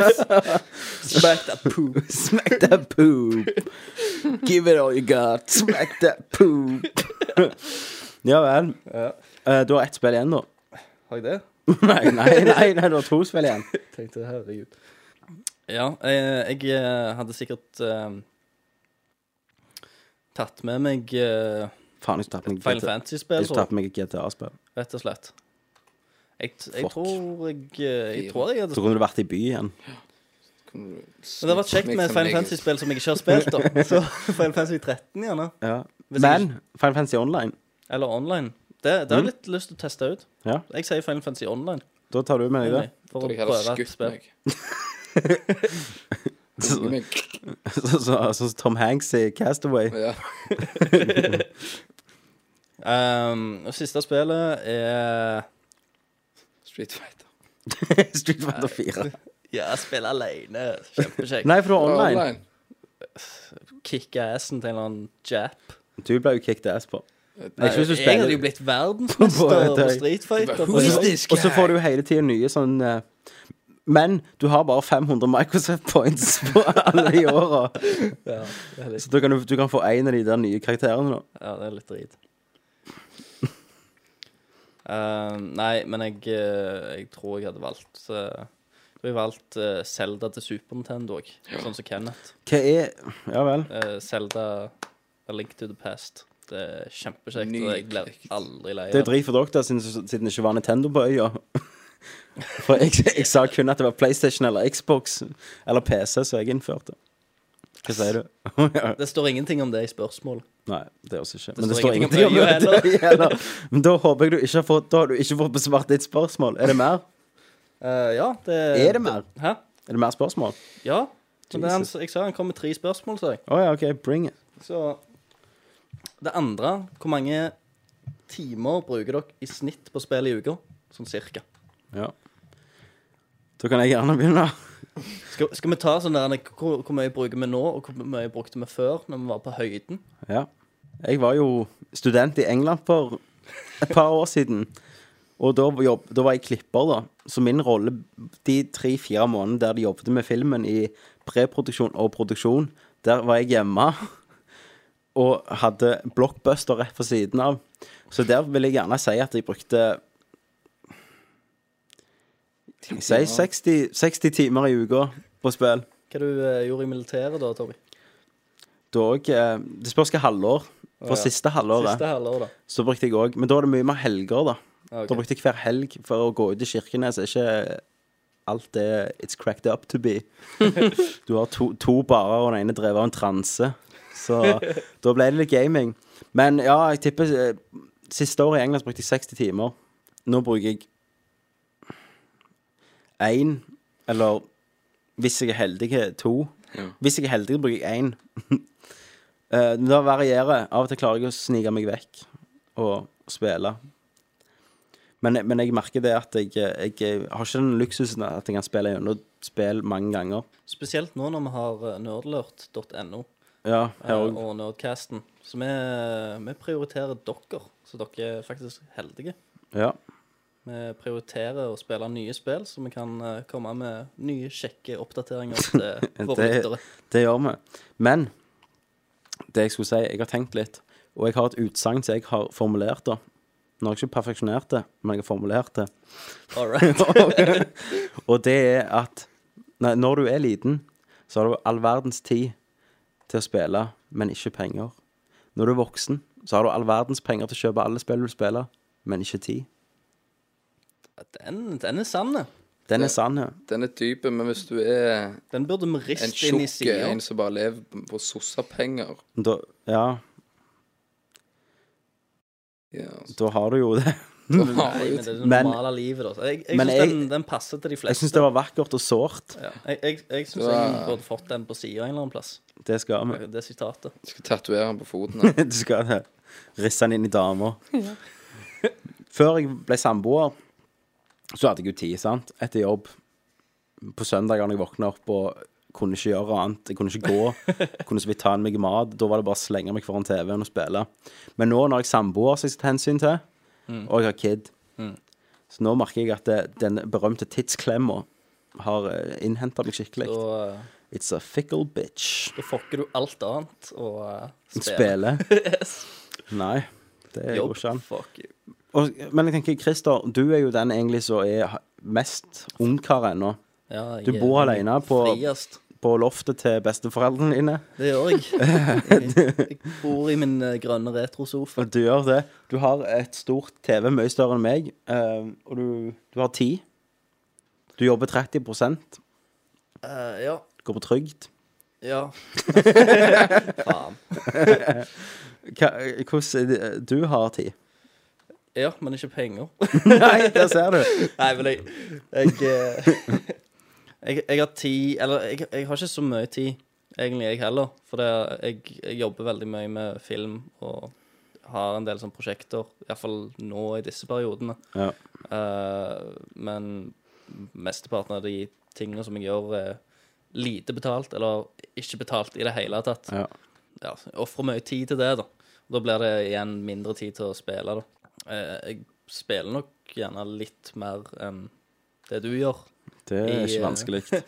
Smack that poop.
Smack that poop. Give it all you got. Smack that poop. ja vel. Eh, du har ett spill igjen, da.
Har jeg det?
nei, nei, nei, nei, du har to spill igjen.
Tenkte herregud. Ja, eh, jeg eh, hadde sikkert eh, tatt med meg eh,
Faen, jeg skulle tatt meg GTA
Final
jeg
Fantasy-spill,
skulle
tror jeg,
tatt meg et GTA-spill.
rett og slett. Jeg, t- jeg
Fuck.
tror jeg, eh, jeg tror jeg hadde
Så kunne du vært i by igjen.
Men
Men det hadde vært kjekt med et Final Fantasy-spill som jeg ikke har spilt, da. Så Final Fantasy 13, gjerne.
Ja.
Hvis
Men
jeg
Final Fantasy Online
Eller online. Det, det har jeg litt lyst til å teste ut.
Ja.
Jeg sier Final Fantasy Online.
Da tar du med deg det.
For å
Da hadde jeg heller
prøve et
skutt
spill.
meg.
Så,
Skutt meg.
så, så, så Tom Hanks i Castaway.
Ja.
Um, og siste spillet er
Street Fighter.
Street Fighter 4.
Ja, spille alene. Kjempekjekt.
Nei, for det var online.
Online.
Kicke assen til en eller annen jap.
Du ble jo kicked ass på.
Nei,
Jeg synes du
jeg hadde
spiller
jo blitt verdensmester
På-
på Street Fighter.
Who
for
is
det.
this
Og så får
guy?
du hele tida nye sånn eh, Men du har bare 500 Microsoft points på alle de åra.
Ja, det er litt,
Så da kan du, du kan få én av de der nye karakterene. da
ja, det er litt drit. Um, nei, men jeg, eh, jeg tror jeg hadde valgt eh, Jeg tror jeg valgte eh, Zelda til Super Nintendo òg, sånn som Kenneth.
Hva er Ja vel.
Eh, Zelda A Link to the Past. Det er kjempekjekt, og jeg blir
Nydelig.
aldri lei
Det er
av det.
drit for dere, da, siden, siden det ikke var Nintendo på øya. For jeg, jeg sa kun at det var PlayStation eller Xbox eller PC som jeg innførte. Hva sier du?
Det står ingenting om det i spørsmål.
Nei, det også ikke.
Det
Men det
står
står
ingenting
ingenting
om
om
øya
det heller. Men da håper jeg du ikke har fått Da har du ikke fått besvart ditt spørsmål. Er det mer?
Eh, ja, det
Er det mer?
Hæ?
Er det mer spørsmål?
Ja. Men det er han,
Jesus.
jeg sa han kom med tre spørsmål, sa jeg.
Å ja, OK. Bring it.
Så Det andre Hvor mange timer bruker dere i snitt på spill i uka? Sånn cirka.
Ja. Da kan jeg gjerne begynne.
Skal, skal vi ta sånn der hvor, hvor mye bruker vi nå, og hvor mye brukte vi før, når vi var på høyden?
Ja. Jeg var jo student i England for et par år siden. Og da, jobb, da var jeg klipper, da. Så min rolle de tre-fire månedene der de jobbet med filmen i preproduksjon og produksjon, der var jeg hjemme og hadde blockbuster rett på siden av. Så der vil jeg gjerne si at jeg brukte jeg sier 60, 60 timer i uka på spill.
Hva du eh, gjorde i militæret da, Tommy?
Da òg eh, Det spørs hva halvår. For
ja.
siste halvåret.
Siste halvår, da.
Så brukte jeg òg Men da er det mye mer helger, da.
Ah, ok.
Da brukte jeg hver helg for å gå ut i Kirkenes. Er ikke alt det it's cracked up to be. Du har to, to barer, og den ene drevet av en transe. Så da ble det litt gaming. Men ja, jeg tipper eh, Siste året i England så brukte jeg 60 timer. Nå bruker jeg én, eller hvis jeg er heldig, to. Hvis jeg er heldig, bruker jeg én. Eh, Men det varierer. Av og til klarer jeg å snike meg vekk og spille. Men, men jeg merker det at jeg, jeg har ikke den luksusen at jeg kan spille gjennom spill mange ganger.
Spesielt nå når vi har eh, nerdlurt.no
Ja,
eh,
her også.
og Nerdcasten. Så vi, eh, vi prioriterer dere, så dere er faktisk heldige.
Ja.
Vi prioriterer å spille nye spill, så vi kan eh, komme med nye, kjekke oppdateringer til våre
Det-
lyttere.
Det gjør vi. Men det jeg skulle si, jeg har tenkt litt, og jeg har et utsagn som jeg har formulert, da. Nå har jeg ikke perfeksjonert det, men jeg har formulert det.
All right.
og det er at nei, når du er liten, så har du all verdens tid til å spille, men ikke penger. Når du er voksen, så har du all verdens penger til å kjøpe alle spill du spiller, men ikke tid.
Den, den er sann.
Den er sann, ja.
Den er dyp, men hvis du er
Den burde vi
en
riste inn i
tjukk
sida.
en som bare lever på sossapenger
Da, ja,
ja,
da har du jo det.
Nei, men det er det
Men-
normale livet, da. Jeg, jeg
Men
syns
jeg-
den, den passer til de
Jeg
fleste.
syns det var vakkert og sårt.
Ja. Jeg, jeg, jeg syns
Så-
jeg burde fått den på sida en eller annen plass,
Det skal vi.
det sitatet.
Skal tatovere den på foten. her.
Du skal eh, risse den inn i damer. Før jeg ble samboer, så hadde jeg jo tid, sant, etter jobb. På søndager når jeg våkna opp og kunne ikke gjøre annet, jeg kunne ikke gå, kunne så vidt ta en meg mat, da var det bare å slenge meg foran TV-en og spille. Men nå når jeg er samboer, som jeg tar hensyn til,
Mm.
og jeg har kid, så nå merker jeg at det, den berømte tidsklemma har innhenta meg skikkelig.
Da, eh,
It's a fickle bitch.
da fucker du alt annet og uh, spiller.
Spille? Nei, det går
Jobb.
ikke an.
Fuck you.
Og, men jeg tenker, Christer, du er jo den egentlig som er ha- mest ungkar ennå.
Ja, jeg
Du bor
er
alene på-
Friest.
På loftet til besteforeldrene dine.
Det gjør jeg. jeg. Jeg bor i min eh, grønne retrosofa.
Og du gjør det. Du har et stort TV, mye større enn meg, eh, og du, du har tid. Du jobber 30 går
Eh, ja.
på trygd.
Ja. Faen.
eh, Hva- Hvordan er det- du har tid?
Ja, men ikke penger.
Nei, der ser du.
Nei, men jeg Jeg, eh, jeg, jeg har tid Eller jeg, jeg har ikke så mye tid, egentlig, jeg heller. For det, er- jeg, jeg jobber veldig mye med film og har en del sånne prosjekter. Iallfall nå i disse periodene.
Ja.
Eh, men mesteparten av de tingene som jeg gjør, er lite betalt, eller ikke betalt i det hele tatt.
Ja.
Ja, så jeg Ofrer mye tid til det, da. Da blir det igjen mindre tid til å spille, da. Eh, jeg spiller nok gjerne litt mer enn det du gjør.
Det
I,
er
eh,
ikke vanskelig. Det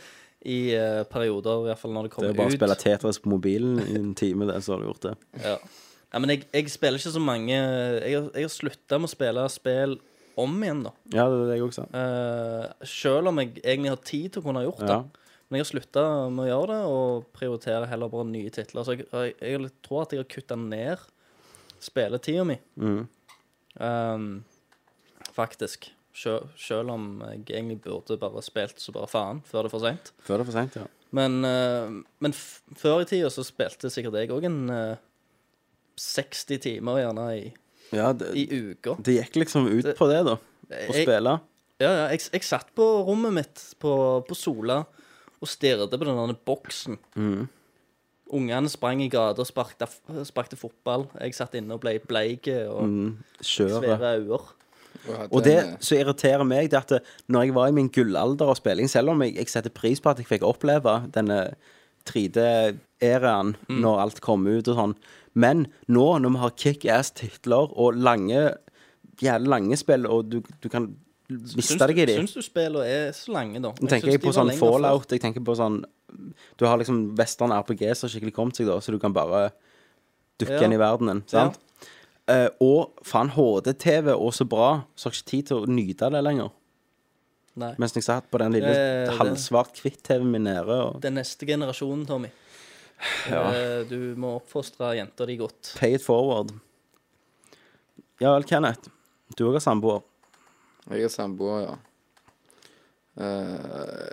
I eh, perioder, i hvert fall når det kommer
er bare å
ut.
spille Tetris på mobilen i en time, det, så har du gjort det.
Ja. ja, men jeg, jeg spiller ikke så mange Jeg har, jeg har slutta med å spille spill om igjen, da.
Ja, det er det jeg også sa.
Eh, selv om jeg egentlig har tid til å kunne ha gjort det.
Ja.
Men jeg har slutta med å gjøre det, og prioriterer heller bare nye titler. Så jeg, jeg, jeg tror at jeg har kutta ned spilletida mi,
Mm.
Ehm, faktisk. Sjø, selv om jeg egentlig burde bare spilt så bare faen før det er for seint.
Før det er for seint, ja.
Men, eh, men f før i tida så spilte sikkert jeg òg en eh, 60 timer gjerne i,
ja det,
i uka.
det gikk liksom ut
Det-
Eh, på det, da. Å
Jeg,
spille.
Ja, ja. Jeg, jeg satt på rommet mitt på, på Sola og stirret på den der boksen.
Mm.
Ungene sprang i gata og sparkte, f- sparkte fotball. Jeg satt inne og ble bleik og
Mm, Kjøre.
svære øyne.
Og det som irriterer meg, det er at det- når jeg var i min gullalder av spilling, selv om jeg, jeg setter pris på at jeg fikk oppleve denne 3D-æraen
Mm.
når alt kom ut og sånn, men nå når vi har kickass-titler og lange, jævlig lange spill, og du, du kan miste
Syns
deg i
du-
de
Syns du spillene er så lange, da?
Nå tenker jeg
syns de
på
var
sånn
lenger før.
Fallout, jeg tenker på sånn Du har liksom western RPG som har skikkelig kommet seg, da, så du kan bare dukke
Ja.
inn i verdenen. Sant? Eh, og faen, HD-TV og så bra, så har jeg ikke tid til å nyte det lenger.
Nei.
Mens jeg satt på den lille
Det- det-
halvsvart hvitt-TV-en min nede og
Den neste generasjonen, Tommy. Eh, Du må oppfostre jenta di godt.
pay it forward. Ja vel, Kenneth. Du òg har samboer.
Jeg er samboer, ja. Eh,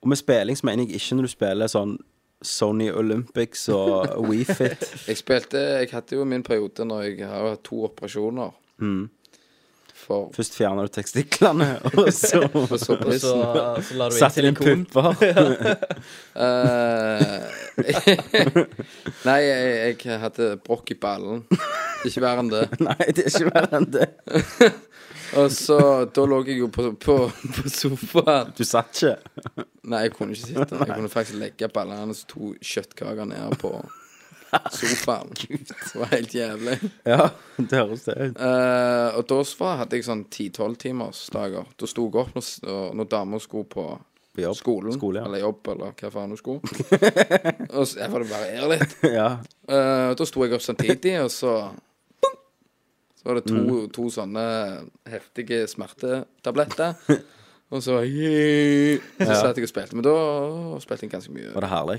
Og med spilling så mener jeg ikke når du spiller sånn Sony Olympics og WeFit.
jeg spilte Jeg hadde jo min periode når jeg har jo hatt to operasjoner.
Mm.
For
Først fjerner du testiklene, og så
for så
Og så,
pissen.
så lar du inn
satte du inn
silikon.
pupper.
Eh, Nei, jeg, jeg hadde brokk i ballen. Ikke verre enn det.
Nei, det er ikke verre enn det.
Og så Da lå jeg jo på, på, på sofaen.
Du satt ikke.
Nei, jeg kunne ikke sitte. Jeg kunne faktisk legge ballene hans to kjøttkaker ned på sofaen. Det var helt jævlig.
Ja, det høres det ut.
Eh, og da var, hadde jeg sånn 10-12 timers dager. Da sto jeg opp når, s- når- når damer skulle på
På jobb.
skolen,
Skole, ja.
eller jobb, eller hva faen hun skulle. og så jeg får det variere litt.
Ja.
Eh, og da sto jeg opp samtidig, og så boom! Så var det to,
Mm.
to sånne heftige smertetabletter. Og så yeah! Så satt jeg og spilte. Men da spilte jeg ganske mye.
Var det herlig?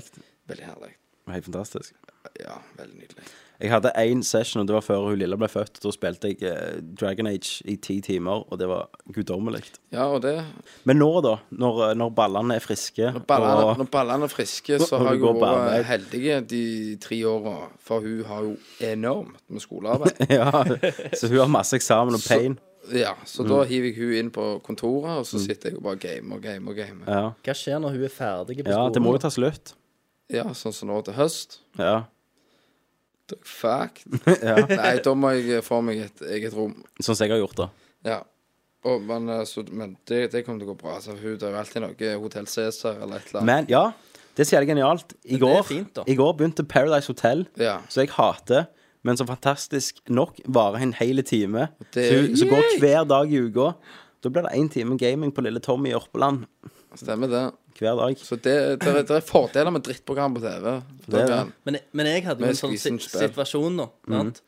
Veldig herlig.
Helt fantastisk.
Ja, veldig nydelig.
Jeg hadde én session, og det var før hun lille ble født. Da spilte jeg eh, Dragon Age i ti timer, og det var guddommelig.
Ja, og det
Men nå, da? Når, eh, når ballene er friske
Når ballene,
og
når ballene er friske, så
Når
har
du
jeg
går
jo
på arbeid.
vært heldig de tre åra. For hun har jo enormt med skolearbeid.
Ja, så hun har masse eksamen og pain.
Ja, Så
Mm.
da hiver jeg hun inn på kontoret, og så sitter jeg og bare gamer og gamer. og gamer.
Ja.
Hva skjer når hun er ferdig på
ja,
skolen?
det må jo ta slutt.
Ja, sånn som nå til høst.
Ja.
Fuck. Nei, da må jeg få meg et eget rom.
Sånn som jeg har gjort, da.
Ja. Og, men eh, så, men det, det kommer til å gå bra. Altså, hun tar jo alltid noe Hotell Cæsar eller et eller annet.
Men ja, det er så jævlig genialt. I
det er
går,
fint, da.
I går begynte Paradise Hotel,
Ja.
så jeg hater. Men som fantastisk nok varer en hel time.
Det-
så, hun- så går
Yay!
hver dag i uka. Da blir det én time gaming på lille Tommy i Orpeland
Stemmer det.
hver dag.
Så det, det, er- det er fordeler med drittprogram på TV.
er det.
Adrian.
Men, men jeg hadde jo
Med
en sånn si
skvisen spill.
situasjon, da.
Mhm.
Sant?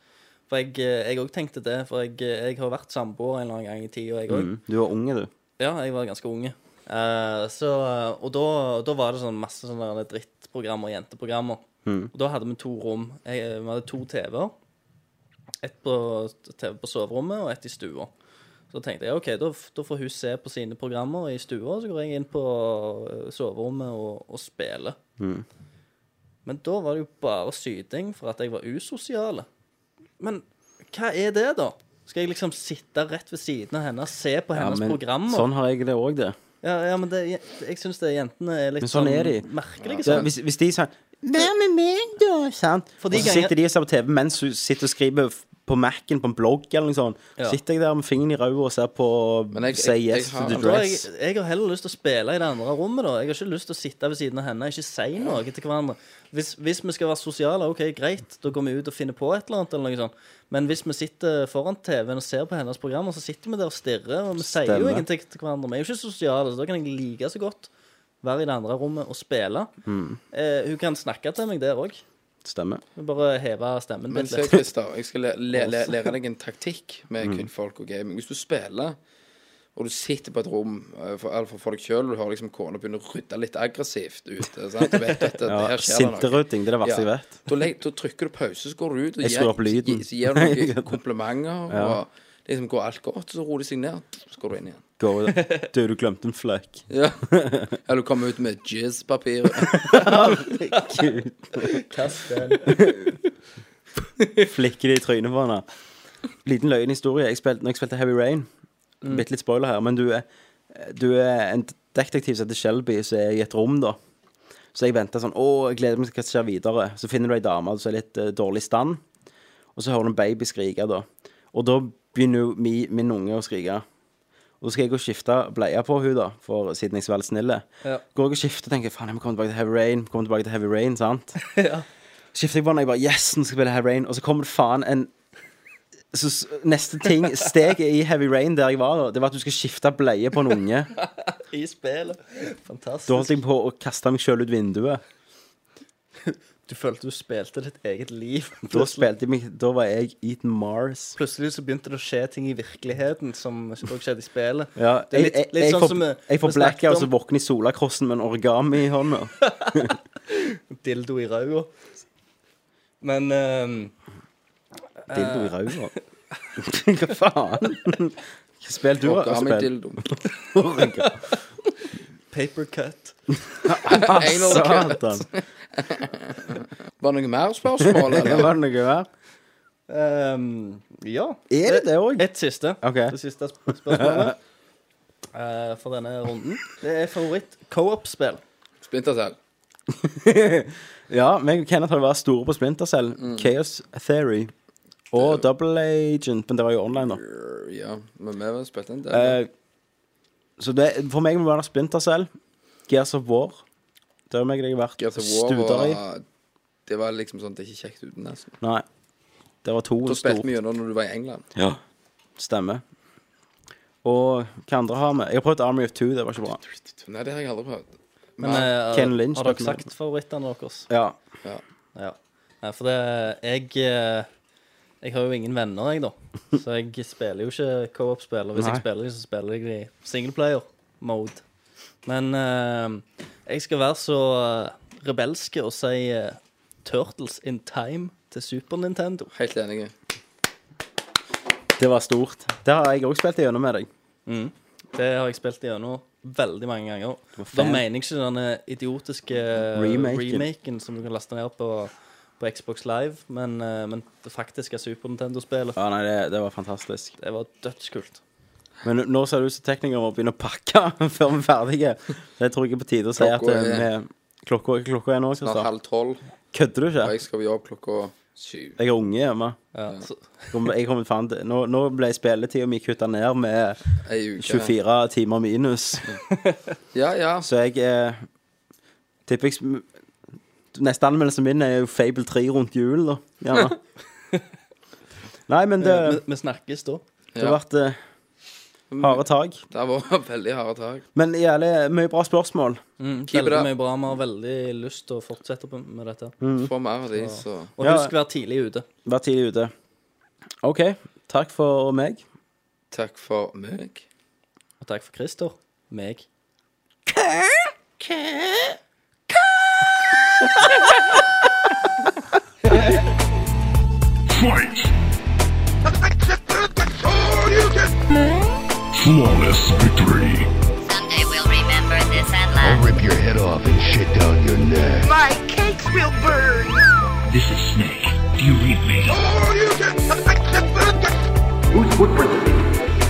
For jeg eh, jeg òg tenkte det. For jeg, eh, jeg har vært samboer en eller annen gang i tida, jeg òg.
Mm. Du var unge, du.
Ja, jeg var ganske unge. Eh, så, eh, og da, da var det sånn masse sånne der drittprogrammer, jenteprogrammer.
Mm.
Og da hadde vi to rom. Jeg, eh, vi hadde to TV-er. Ett på TV på soverommet og ett i stua. Så tenkte jeg OK, da, f- da får hun se på sine programmer i stua, så går jeg inn på eh, soverommet og, og spiller.
Mm.
Men da var det jo bare syting for at jeg var usosial. Men hva er det, da? Skal jeg liksom sitte rett ved siden av henne og se på
Ja,
hennes
men
programmer?
sånn har jeg det òg, det.
Ja, ja, men det, jeg syns jentene er litt
Men sånn er de.
merkelige.
Så
sånn.
hvis, hvis de sånn Hva med meg, da? Sant?
For
Og
de
så
ganger-
sitter de og ser på TV mens hun sitter og skriver f- på Mac-en på en blogg eller noe sånt.
Ja.
Sitter jeg der med fingeren i ræva og ser på
Men jeg-
Say
jeg- jeg
Yes to
har-
the
Men da har jeg,
Dress.
jeg har heller lyst til å spille i det andre rommet. da Jeg har ikke lyst til å sitte ved siden av henne og ikke si noe til hverandre. Hvis, hvis vi skal være sosiale, ok, greit, da går vi ut og finner på et eller annet. Eller noe sånt. Men hvis vi sitter foran TV-en og ser på hennes programmer, så sitter vi der og stirrer, og vi sier
Stemmer.
jo ingenting til hverandre. Vi er jo ikke sosiale, så da kan jeg like så godt være i det andre rommet og spille.
Hmm.
Eh, hun kan snakke til meg der òg.
Stemmer.
Bare heve stemmen
Men
litt. liksom.
se,
litt.
Christer, jeg skal læ- læ- læ- lære deg en taktikk med
Mm.
kvinnfolk og gaming. Hvis du spiller, og du sitter på et rom eh, for, eller for deg sjøl, og du hører liksom kona begynne å rydde litt aggressivt ute sant? Du vet at det,
Ja,
her skjer det noe.
Sinterøding, det er det verste jeg vet.
Da, legg, da trykker du pause, så går du ut og
Jeg skrur opp lyden.
gi- så gir du noen komplimenter. Og liksom går alt godt, så roer de seg ned, så går du inn igjen.
Gå ut. Du, du glemte en fløk.
Ja. Eller du kommer ut med jizz-papir.
Gud.
Kast den.
Flikker det i trynet på henne. Liten løgnhistorie. Jeg spilte, når jeg spilte Heavy Rain Bitte litt spoiler her, men du er, du er en detektiv som heter Shelby, som er i et rom, da. Så jeg venter sånn Å, jeg gleder meg til hva som skjer videre. Så finner du ei dame som er litt eh, dårlig i stand, og så hører du en baby skrike, da. Og da begynner jo mi, min unge å skrike. Og så skal jeg gå og skifte bleie på hun da, for siden jeg er så veldig snill.
Ja.
Går jeg og skifter og tenker faen, jeg må komme tilbake til Heavy Rain. Komme tilbake til Heavy Rain, sant? Skifter jeg på den, og jeg bare yes, nå skal jeg spille Heavy Rain. Og så kommer det faen en så s- neste ting, steget i Heavy Rain der jeg var, da, det var at du skal skifte bleie på en unge.
I spillet.
Da holdt
Fantastisk.
jeg på å kaste meg sjøl ut vinduet.
Du følte du spilte ditt eget liv.
Da spilte jeg meg Da var jeg Eaton Mars.
plutselig så begynte det å skje ting i virkeligheten som også skjedde i spillet.
Ja,
Det er
jeg,
litt-
jeg,
litt
jeg,
sånn
får-
som vi-
jeg får
vi snakket
blackout og
om.
så våkner jeg i solakrossen med en origami i hånda.
Dildo i ræva. Men ehm,
Dildo i
Eh.
ræva. Hva faen? Hva spill du har
Origami
spilt?
dildo.
papercut
Anal cut.
Satan.
Var det noe mer spørsmål? Eller?
Var det noe mer?
um, Ja.
Er det det òg?
Et siste.
Ok.
Det siste sp- spørsmålet eh, for denne runden. Det er favoritt-co-op-spill.
Splinter Cell.
Ja, meg og Kenneth har jo vært store på Splinter Cell.
Mm.
Chaos Theory. Og Double Agent, men det var jo online, da.
Ja, men vi har spilt en del.
Eh, så det, for meg må det være Splinter Cell, Gears of War. Det er jo meg jeg har vært
Gears of War
studer i.
var Det var liksom sånn at det er ikke kjekt uten, nesten.
Nei. Det var to
Da spilte
store.
vi gjennom når du var i England.
Ja. Stemmer. Og hva andre har vi? Jeg har prøvd Army of Two, det var ikke bra.
Nei, det har jeg aldri prøvd.
Men eh,
Ken Lynch,
har dere
spilte med.
sagt favorittene deres?
Ja.
Ja.
Ja. Nei, for det Jeg eh, Jeg har jo ingen venner, jeg, da. Så jeg spiller jo ikke co-op-spill. Og hvis
Nei.
jeg spiller, så spiller jeg i singleplayer-mode. Men eh, jeg skal være så eh, rebelske og si eh, Turtles in Time til Super Nintendo.
Helt enig.
Det var stort. Det har jeg òg spilt igjennom med deg.
Mm. Det har jeg spilt gjennom veldig mange ganger. Da
fan.
mener jeg ikke denne idiotiske eh,
Remaken.
remaken, som du kan laste ned på, på Xbox Live, men, eh, men det faktiske Super Nintendo-spillet.
Ja, nei, det, det var fantastisk.
Det var dødskult.
Men nå- nå ser det ut som teknikere må begynne å pakke før vi er ferdige. Så jeg tror ikke på tide å si at
Klokka
eh,
er-
vi Klokka, klokka er nå,
Snart
Kristian.
halv tolv,
Kødder du ikke?
og jeg skal på jobb klokka syv.
Jeg har unge hjemme.
Ja. Så,
Kommer- Jeg kommer faen til Nå, nå ble spilletida mi kutta ned med
Ei uke.
24 timer minus.
Ja, ja.
Så jeg eh, tipper jeg sm- Neste anmeldelse min er jo Fable 3 rundt jul, da. Gjerne. Nei, men
Eh,
det,
Eh, vi, vi snakkes da.
det har vært eh, harde tak.
Det var veldig harde tak.
Men jævlig mye bra spørsmål.
Mm, Keep it
veldig
up.
mye bra. Vi har veldig lyst til å fortsette på- med dette.
Få mer av de, så
Og
Ja.
husk å være tidlig ute.
Vær tidlig ute. OK. Takk for meg.
takk for meg.
Og takk for Christer. Meg.
Fight! Flawless victory.
Someday we'll remember this and laugh.
I'll rip your head off and shit down your neck.
This is Snake. Do you read me?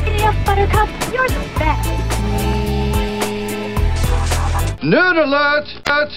Giddy up, Buttercup, you're the best.
Nerd alert!